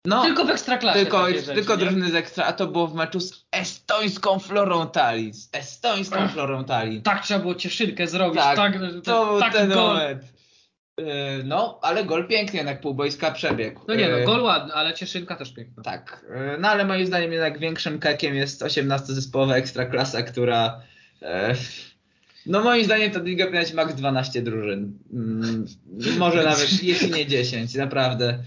No, Tylko w Ekstraklasie tylko, takie rzeczy, tylko nie? drużyny z Ekstra, a to było w meczu z estońską Florą Tallinn. Z estońską Ach. Florą Tallinn. Tak trzeba było cieszynkę zrobić, Tak, tak, tak, To był tak ten gol. moment. Yy, No, ale gol pięknie, jednak pół boiska przebiegł. No nie Yy, no, gol ładny, ale cieszynka też piękna. Tak, yy, no ale moim zdaniem jednak większym kekiem jest 18-zespołowa Ekstraklasa, która... e, No moim zdaniem to liga powinna mieć maks 12 drużyn. Mm, Może [LAUGHS] nawet, jeśli nie 10, naprawdę.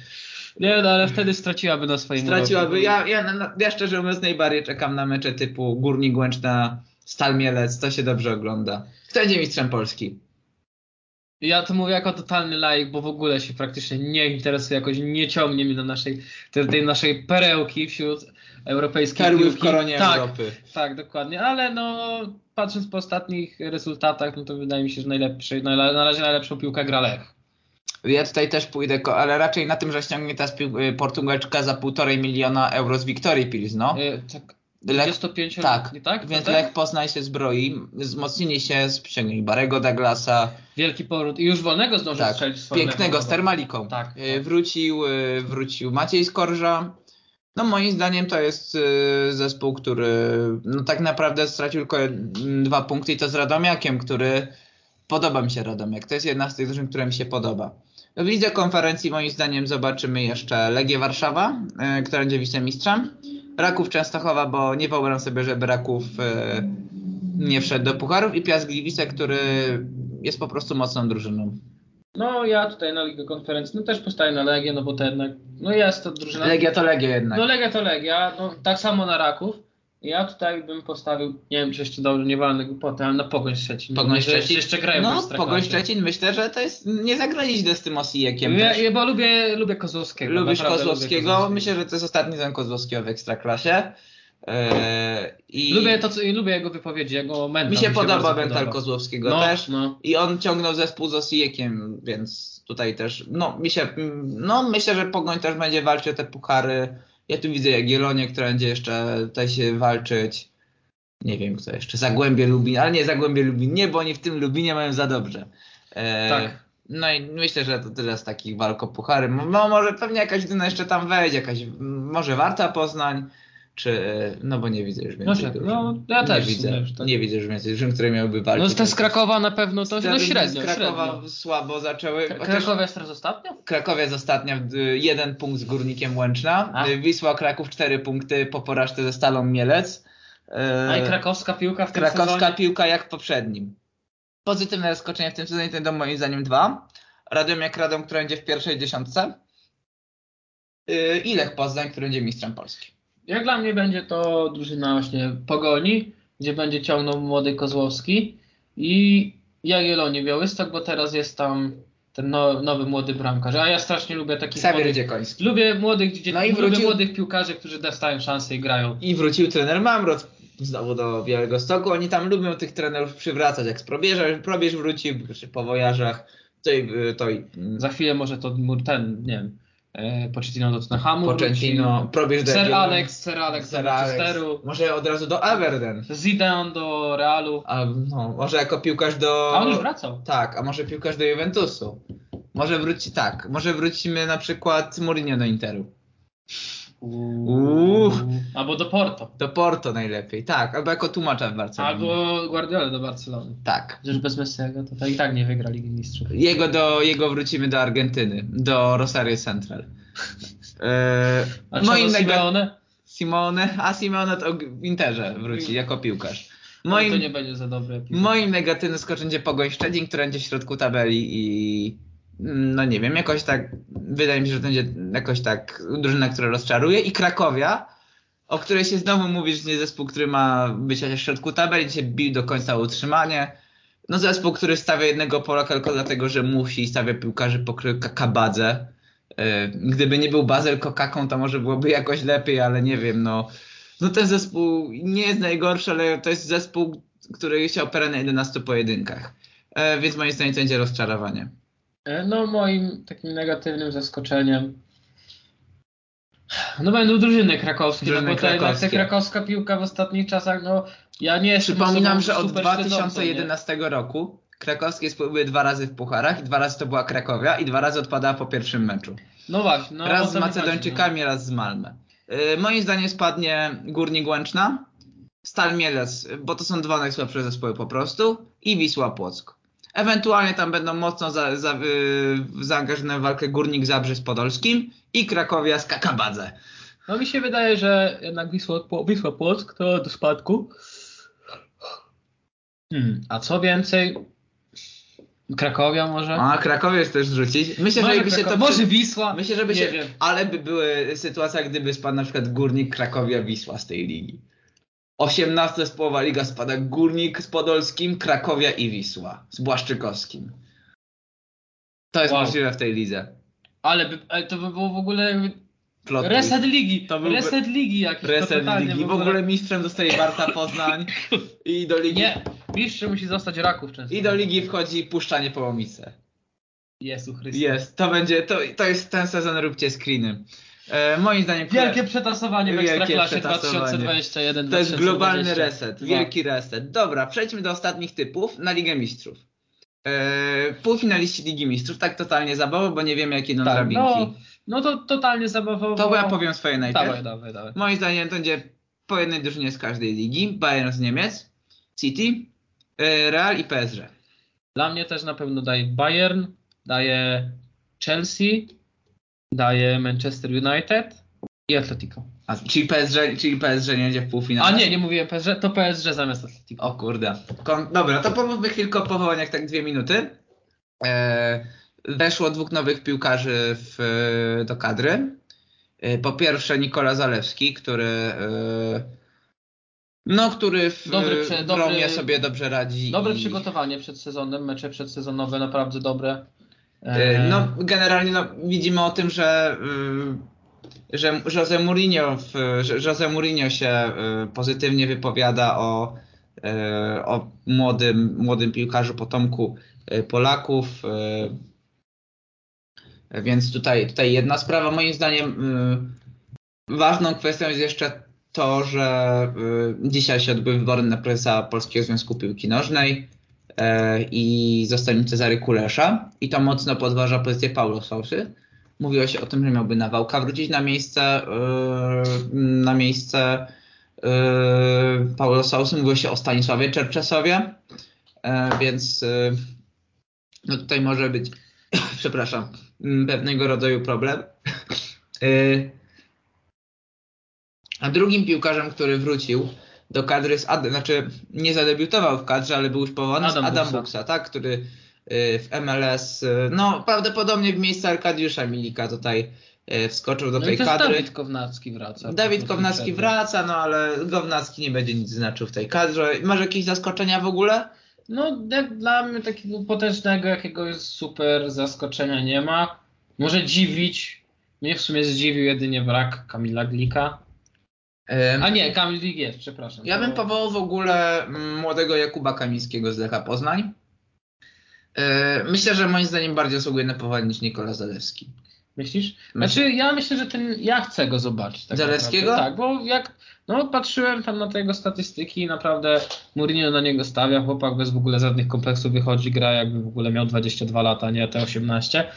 Nie no, ale wtedy straciłaby na swoim Straciłaby. uroku. Ja, ja, na- na- ja szczerze mówiąc najbardziej czekam na mecze typu Górnik Łęczna, Stal Mielec, to się dobrze ogląda. Kto będzie mistrzem Polski? Ja to mówię jako totalny laik, bo w ogóle się praktycznie nie interesuje, jakoś nie ciągnie mnie do naszej, tej, tej naszej perełki wśród europejskiej Perły w piłki. koronie tak, Europy. Tak, dokładnie, ale no patrząc po ostatnich rezultatach, no to wydaje mi się, że najlepszy, na, na razie najlepszą piłkę gra Lech. Ja tutaj też pójdę, ko- ale raczej na tym, że ściągnie ta spił- y, Portugalczka za 1,5 miliona euro z Wiktorii no. Pilzno. Y, tak, Lech, 25 tak, tak? więc tak? Lech Poznań się zbroi, wzmocnili się, ściągnęli Barego Douglasa, Wielki powrót i już wolnego zdążył tak, strzelić swoją pięknego lewą z nogą. termaliką. Tak, Y, tak. Wrócił, y, wrócił Maciej Skorża. No moim zdaniem to jest y, zespół, który no, tak naprawdę stracił tylko jed- dwa punkty i to z Radomiakiem, który podoba mi się Radomiak. To jest jedna z tych drużyn, która mi się podoba. No, W lidze konferencji moim zdaniem zobaczymy jeszcze Legię Warszawa, y, która będzie wicemistrzem. Raków Częstochowa, bo nie wyobrażam sobie, żeby Raków y, nie wszedł do pucharów i Piast Gliwice, który jest po prostu mocną drużyną. No ja tutaj na Ligę Konferencji, no też postaję na Legię, no bo to jednak, no jest to drużyna... Legia to Legia jednak. No Legia to Legia, no, tak samo na Raków. Ja tutaj bym postawił, nie wiem czy jeszcze dobrze, nie walnę głupoty, ale na Pogoń Szczecin. Pogoń Że Szczecin. Jeszcze grają w No, Ekstraklasie. Pogoń Szczecin myślę, że to jest nie zagrozić źle z tym Osijekiem Ja, też. ja, bo lubię, lubię Kozłowskiego. Lubisz naprawdę Kozłowskiego? Myślę, że to jest ostatni ten Kozłowskiego w Ekstraklasie. Yy, i Lubię to, co, i lubię jego wypowiedzi, jego mental. mi się podoba bardzo mental Kozłowskiego też. No. I on ciągnął zespół z Osijekiem, więc tutaj też, no, mi się, no myślę, że Pogoń też będzie walczył o te puchary. Ja tu widzę Jagiellonię, która będzie jeszcze tutaj się walczyć. Nie wiem kto jeszcze, Zagłębie Lubin, ale nie Zagłębie Lubin, nie, bo oni w tym Lubinie mają za dobrze. E, Tak. No i myślę, że to tyle z takich walk o puchary. No może pewnie jakaś dyna jeszcze tam wejdzie, jakaś, m, może Warta Poznań, czy, no bo nie widzę już więcej tak, drużyn. no, ja nie też w sumie widzę, już tak. nie widzę już więcej drużyn, które miałyby walczyć. No ten z Krakowa na pewno to no Wtedy średnio, z Krakowa średnio. słabo zaczęły. Kra- Chociaż Krakowa jest teraz ostatnio? Krakowie jest ostatnia, y, jeden punkt z Górnikiem Łęczna. A. Y, Wisła Kraków cztery punkty po porażce ze Stalą Mielec. Y, A i krakowska piłka w tym Krakowska sezonie. piłka jak w poprzednim. Pozytywne zaskoczenie w tym sezonie to będą moim zdaniem dwa. Radom jak Radom, który będzie w pierwszej dziesiątce. Y, I Lech Poznań, który będzie mistrzem Polski. Jak dla mnie będzie to drużyna właśnie Pogoni, gdzie będzie ciągnął młody Kozłowski i Jagiellonii Białystok, bo teraz jest tam ten no, nowy młody bramkarz. A ja strasznie lubię takich Xavier młodych, Dziekoński. lubię młodych, dzieci, No i lubię wrócił- młodych piłkarzy, którzy dostają szansę i grają. I wrócił trener Mamrot znowu do Białego Stoku. Oni tam lubią tych trenerów przywracać. Jak z probierza, probierz wrócił, czy po wojażach, to, i- y, to i Za chwilę może to mur- ten, nie wiem, e, Pochettino do Tottenhamu Poczęcino, probierz do wróci. Sir Jagiellonii. Alex, Sir Alex do Sir Alex. Manchesteru, Może od razu do Everden. Zidane do Realu. A, no, może jako piłkarz do... A on już wracał. Tak, a może piłkarz do Juventusu. Może wróci, tak, może wrócimy na przykład Mourinho do Interu. Uuu. Albo do Porto. Do Porto najlepiej, tak, albo jako tłumacza w Barcelonie. Albo Guardiola do Barcelony. Tak. Chociaż bez Messiego to, to i tak nie wygra Ligi Mistrzów. Jego, do, jego wrócimy do Argentyny, do Rosario Central. Eee, A moim Cholo najba- Simeone? no Simone, a Simone to w Interze wróci jako piłkarz. Moim... Moim, To nie będzie za dobre. piwo. Moim negatywnym skoczem będzie Pogoń Szczecin, który będzie w środku tabeli i mm, no nie wiem, jakoś tak wydaje mi się, że to będzie jakoś tak drużyna, która rozczaruje i Krakowia, o której się znowu mówi, że to jest zespół, który ma być w środku tabeli, się bił do końca o utrzymanie. No zespół, który stawia jednego Polaka tylko dlatego, że musi i stawia piłkarzy pokryka kabadze. E, Gdyby nie był Bazel Kokaką, to może byłoby jakoś lepiej, ale nie wiem, no. No ten zespół nie jest najgorszy, ale to jest zespół, który się opiera na 11 pojedynkach. E, więc moim zdaniem to będzie rozczarowanie. E, No moim takim negatywnym zaskoczeniem no będą drużyny krakowskie, Drużyny no bo ta, jednak ta krakowskie. krakowska piłka w ostatnich czasach, no ja nie jestem Przypominam, osobą że od Znaczy, super śledzącą, nie? 2011 roku krakowskie spłyły dwa razy w pucharach i dwa razy to była Krakowia i dwa razy odpadała po pierwszym meczu. No właśnie. No, o raz z to mi chodzi, no. Macedończykami, raz z Malmę. Y, moim zdaniem spadnie Górnik Łęczna, Stal Mielec, bo to są dwa najsłabsze zespoły po prostu i Wisła Płock. Ewentualnie tam będą mocno za, za, y, zaangażowane w walkę Górnik Zabrze z Podolskim i Krakowia z Kakabadze. No mi się wydaje, że jednak Wisła, Pło- Wisła Płock to do spadku. Hmm, a co więcej? Krakowia może? A Krakowiec też rzucić. Myślę, Tak? może, że by się to Krakow- może Wisła? Myślę, żeby Nie się. wiem. Ale by były sytuacja, gdyby spadł na przykład górnik Krakowia Wisła z tej ligi. 18 zespołowa liga spada górnik z Podolskim, Krakowia i Wisła z Błaszczykowskim. To jest Wow. możliwe w tej lidze. Ale, by, ale to by było w ogóle jakby Plot twist. reset ligi. To byłby- Reset ligi jakiś. to Reset totalnie ligi. W ogóle mistrzem zostaje Warta [LAUGHS] Poznań i do ligi, Nie, mistrz musi zostać Raków często. i do ligi wchodzi Puszczanie Połomice. Jezu Chryste. Jest, to będzie, to, to jest ten sezon, róbcie screeny. E, moim zdaniem Wielkie przetasowanie w Wielkie Ekstraklasie przetasowanie. 2021 To jest globalny reset, Dwa. wielki reset. Dobra, przejdźmy do ostatnich typów na Ligę Mistrzów. Eee, półfinaliści Ligi Mistrzów, tak totalnie zabawa, bo nie wiemy jakie będą Tak, drabinki. no, no to totalnie zabawowo. To ja powiem swoje najpierw. Dawaj, dawaj, dawaj. Moim zdaniem to będzie po jednej drużynie z każdej ligi. Bayern z Niemiec, City, eee, Real i PSG. Dla mnie też na pewno daje Bayern, daje Chelsea, daje Manchester United i Atletico. A, czyli, PSG czyli PSG nie będzie w A półfinale? nie, nie mówiłem PSG, to PSG zamiast Atletico. O kurde. Kon- Dobra, to pomówmy chwilkę o powołaniach, tak dwie minuty. E, weszło dwóch nowych piłkarzy w, e, do kadry. E, po pierwsze Nikola Zalewski, który e, no, który w Dobry prze- w dobry- Romie sobie dobrze radzi. Dobre i- przygotowanie przed sezonem, mecze przedsezonowe naprawdę dobre. Eee, E, No, generalnie no, widzimy o tym, że, y, że Jose Mourinho, w, że Jose Mourinho się y, pozytywnie wypowiada o, y, o młodym, młodym piłkarzu potomku y, Polaków. y, Więc tutaj, tutaj jedna sprawa. Moim zdaniem y, ważną kwestią jest jeszcze to, że y, dzisiaj się odbyły wybory na prezesa Polskiego Związku Piłki Nożnej e, i zostanie Cezary Kulesza i to mocno podważa pozycję Paulo Sousy. Mówiło się o tym, że miałby Nawałka wrócić na miejsce e, na miejsce e, Paulo Sousy. Mówiło się o Stanisławie Czerczesowie, e, więc e, no tutaj może być, [COUGHS] przepraszam, m, pewnego rodzaju problem. E, A drugim piłkarzem, który wrócił do kadry, z Ad- znaczy nie zadebiutował w kadrze, ale był już powołany, Adam, Adam Adam Buksa. Buksa, tak, który y, w MLS, y, no prawdopodobnie w miejsce Arkadiusza Milika tutaj y, wskoczył do no tej i też kadry. Dawid Kownacki wraca. Dawid Kownacki wraca, no ale Kownacki nie będzie nic znaczył w tej kadrze. Masz jakieś zaskoczenia w ogóle? No, jak dla mnie takiego potężnego jakiegoś super zaskoczenia nie ma. Może dziwić. Mnie w sumie zdziwił jedynie brak Kamila Glika. Ym, A nie, Kamil Glik jest, przepraszam. Y, Ja bym To- powołał w ogóle mm, młodego Jakuba Kamińskiego z Lecha Poznań. Yy, Myślę, że moim zdaniem bardziej zasługuje na powołanie niż Nikola Zalewski. Myślisz? Myśl- Znaczy, ja myślę, że ten. Ja chcę go zobaczyć. Tak Zalewskiego? naprawdę. Tak, bo jak. No, patrzyłem tam na te jego statystyki i naprawdę Mourinho na niego stawia. Chłopak bez w ogóle żadnych kompleksów wychodzi, gra jakby w ogóle miał 22 lata, nie te 18.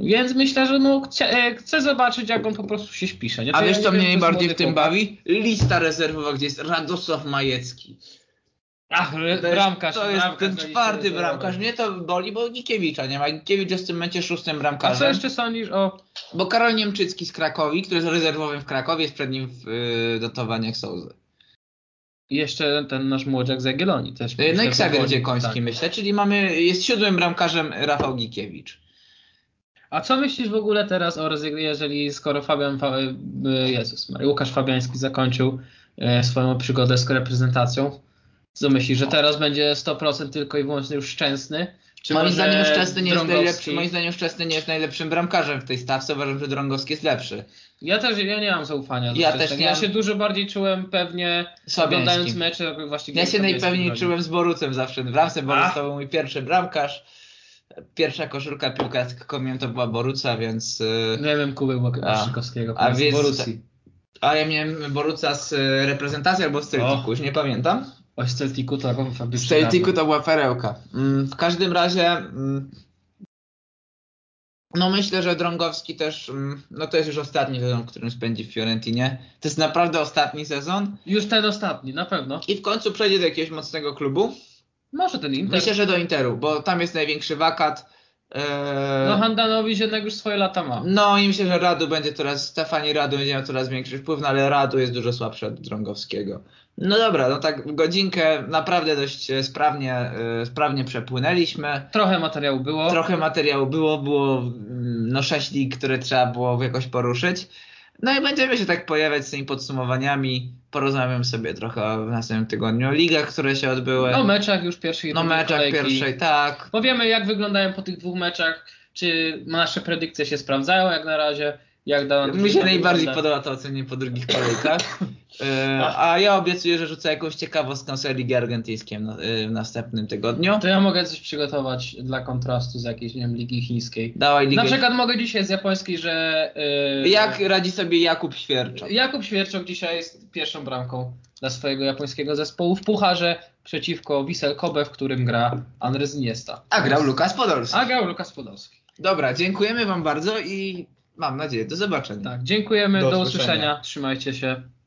Więc myślę, że no, chcę, e, chcę zobaczyć, jak on po prostu się śpisze. Nie? A To wiesz, ja co nie wiem, mnie to jest najbardziej w młody tym chłopak. bawi? Lista rezerwowa, gdzie jest Radosław Majecki. Ach, To jest, bramkarz. to jest bramkarz no ten na liście czwarty rezerwowych. bramkarz. Mnie to boli, bo Gikiewicza nie ma. Gikiewicz jest w tym momencie szóstym A co bramkarzem. jeszcze sądzisz o. Bo Karol Niemczycki z Krakowi, który jest rezerwowym w Krakowie, jest przed nim w y, dotowaniach Sołzy. Jeszcze ten nasz młodziak z Jagiellonii też. Y, No myślę, i że Xavier wchodzi. Dziekoński Tak. myślę, czyli mamy, jest siódmym bramkarzem Rafał Gikiewicz. A co myślisz w ogóle teraz o rezygnacji, jeżeli skoro Fabian, Fa- y, Jezus Maria, Łukasz Fabiański zakończył e, swoją przygodę z reprezentacją? Co myślisz, że teraz będzie 100% tylko i wyłącznie już szczęsny? Czy moim, może zdaniem Szczesny nie jest Drągowski? najlepszy, moim zdaniem Szczesny nie jest najlepszym bramkarzem w tej stawce, uważam, że Drągowski jest lepszy. Ja też ja nie mam zaufania. do Ja Szczęsnego. też nie ja mam. się dużo bardziej czułem pewnie oglądając Sobiański. mecze jakby właśnie Ja kiedy się Fabiański najpewniej bronił. czułem z Borucem zawsze Bramsem, Boruc Ach. to był mój pierwszy bramkarz. Pierwsza koszulka piłkarska komię to była Boruca, więc... y, Nie wiem Kuby A. Łukaszykowskiego, A więc- z Borussii. A ja miałem Boruca z y, reprezentacji albo z Celticu, O. już nie pamiętam. Oj, z Celticu to taką Z fabryczkę. Celticu to była perełka. Mm, W każdym razie mm, No myślę, że Drągowski też, mm, no to jest już ostatni sezon, w którym spędzi w Fiorentinie. To jest naprawdę ostatni sezon Już ten ostatni, na pewno. i w końcu przejdzie do jakiegoś mocnego klubu. Może ten Inter. Myślę, że do Interu, bo tam jest największy wakat. No Eee, Handanowicz jednak już swoje lata ma. no i myślę, że Radu będzie coraz, Stefani Radu będzie miał coraz większy wpływ, no ale Radu jest dużo słabszy od Drągowskiego. No dobra, no tak godzinkę naprawdę dość e, sprawnie, e, sprawnie przepłynęliśmy. Trochę materiału było. Trochę materiału było, było mm, no sześć lig, które trzeba było jakoś poruszyć. No i będziemy się tak pojawiać z tymi podsumowaniami. Porozmawiam sobie trochę w następnym tygodniu o ligach, które się odbyły. No meczach już pierwszej i No drugiej meczach kolejki. pierwszej, tak. Powiemy jak wyglądają po tych dwóch meczach, czy nasze predykcje się sprawdzają jak na razie, jak da Mi się najbardziej podoba to ocenie po drugich [LAUGHS] kolejkach. E, A ja obiecuję, że rzucę jakąś ciekawostkę z Ligi Argentyńskiej w na- y, w następnym tygodniu. To ja mogę coś przygotować dla kontrastu z jakiejś, nie wiem, ligi chińskiej. Dawaj Na ligę. przykład mogę dzisiaj z japońskiej, że... Yy, Jak radzi sobie Jakub Świerczo? Jakub Świerczok dzisiaj jest pierwszą bramką dla swojego japońskiego zespołu w pucharze przeciwko Wisel Kobe, w którym gra Andres Niesta. A grał Lukas Podolski. A grał Lukas Podolski. Dobra, dziękujemy wam bardzo i mam nadzieję, do zobaczenia. Tak, dziękujemy, Do do, usłyszenia. usłyszenia. Trzymajcie się.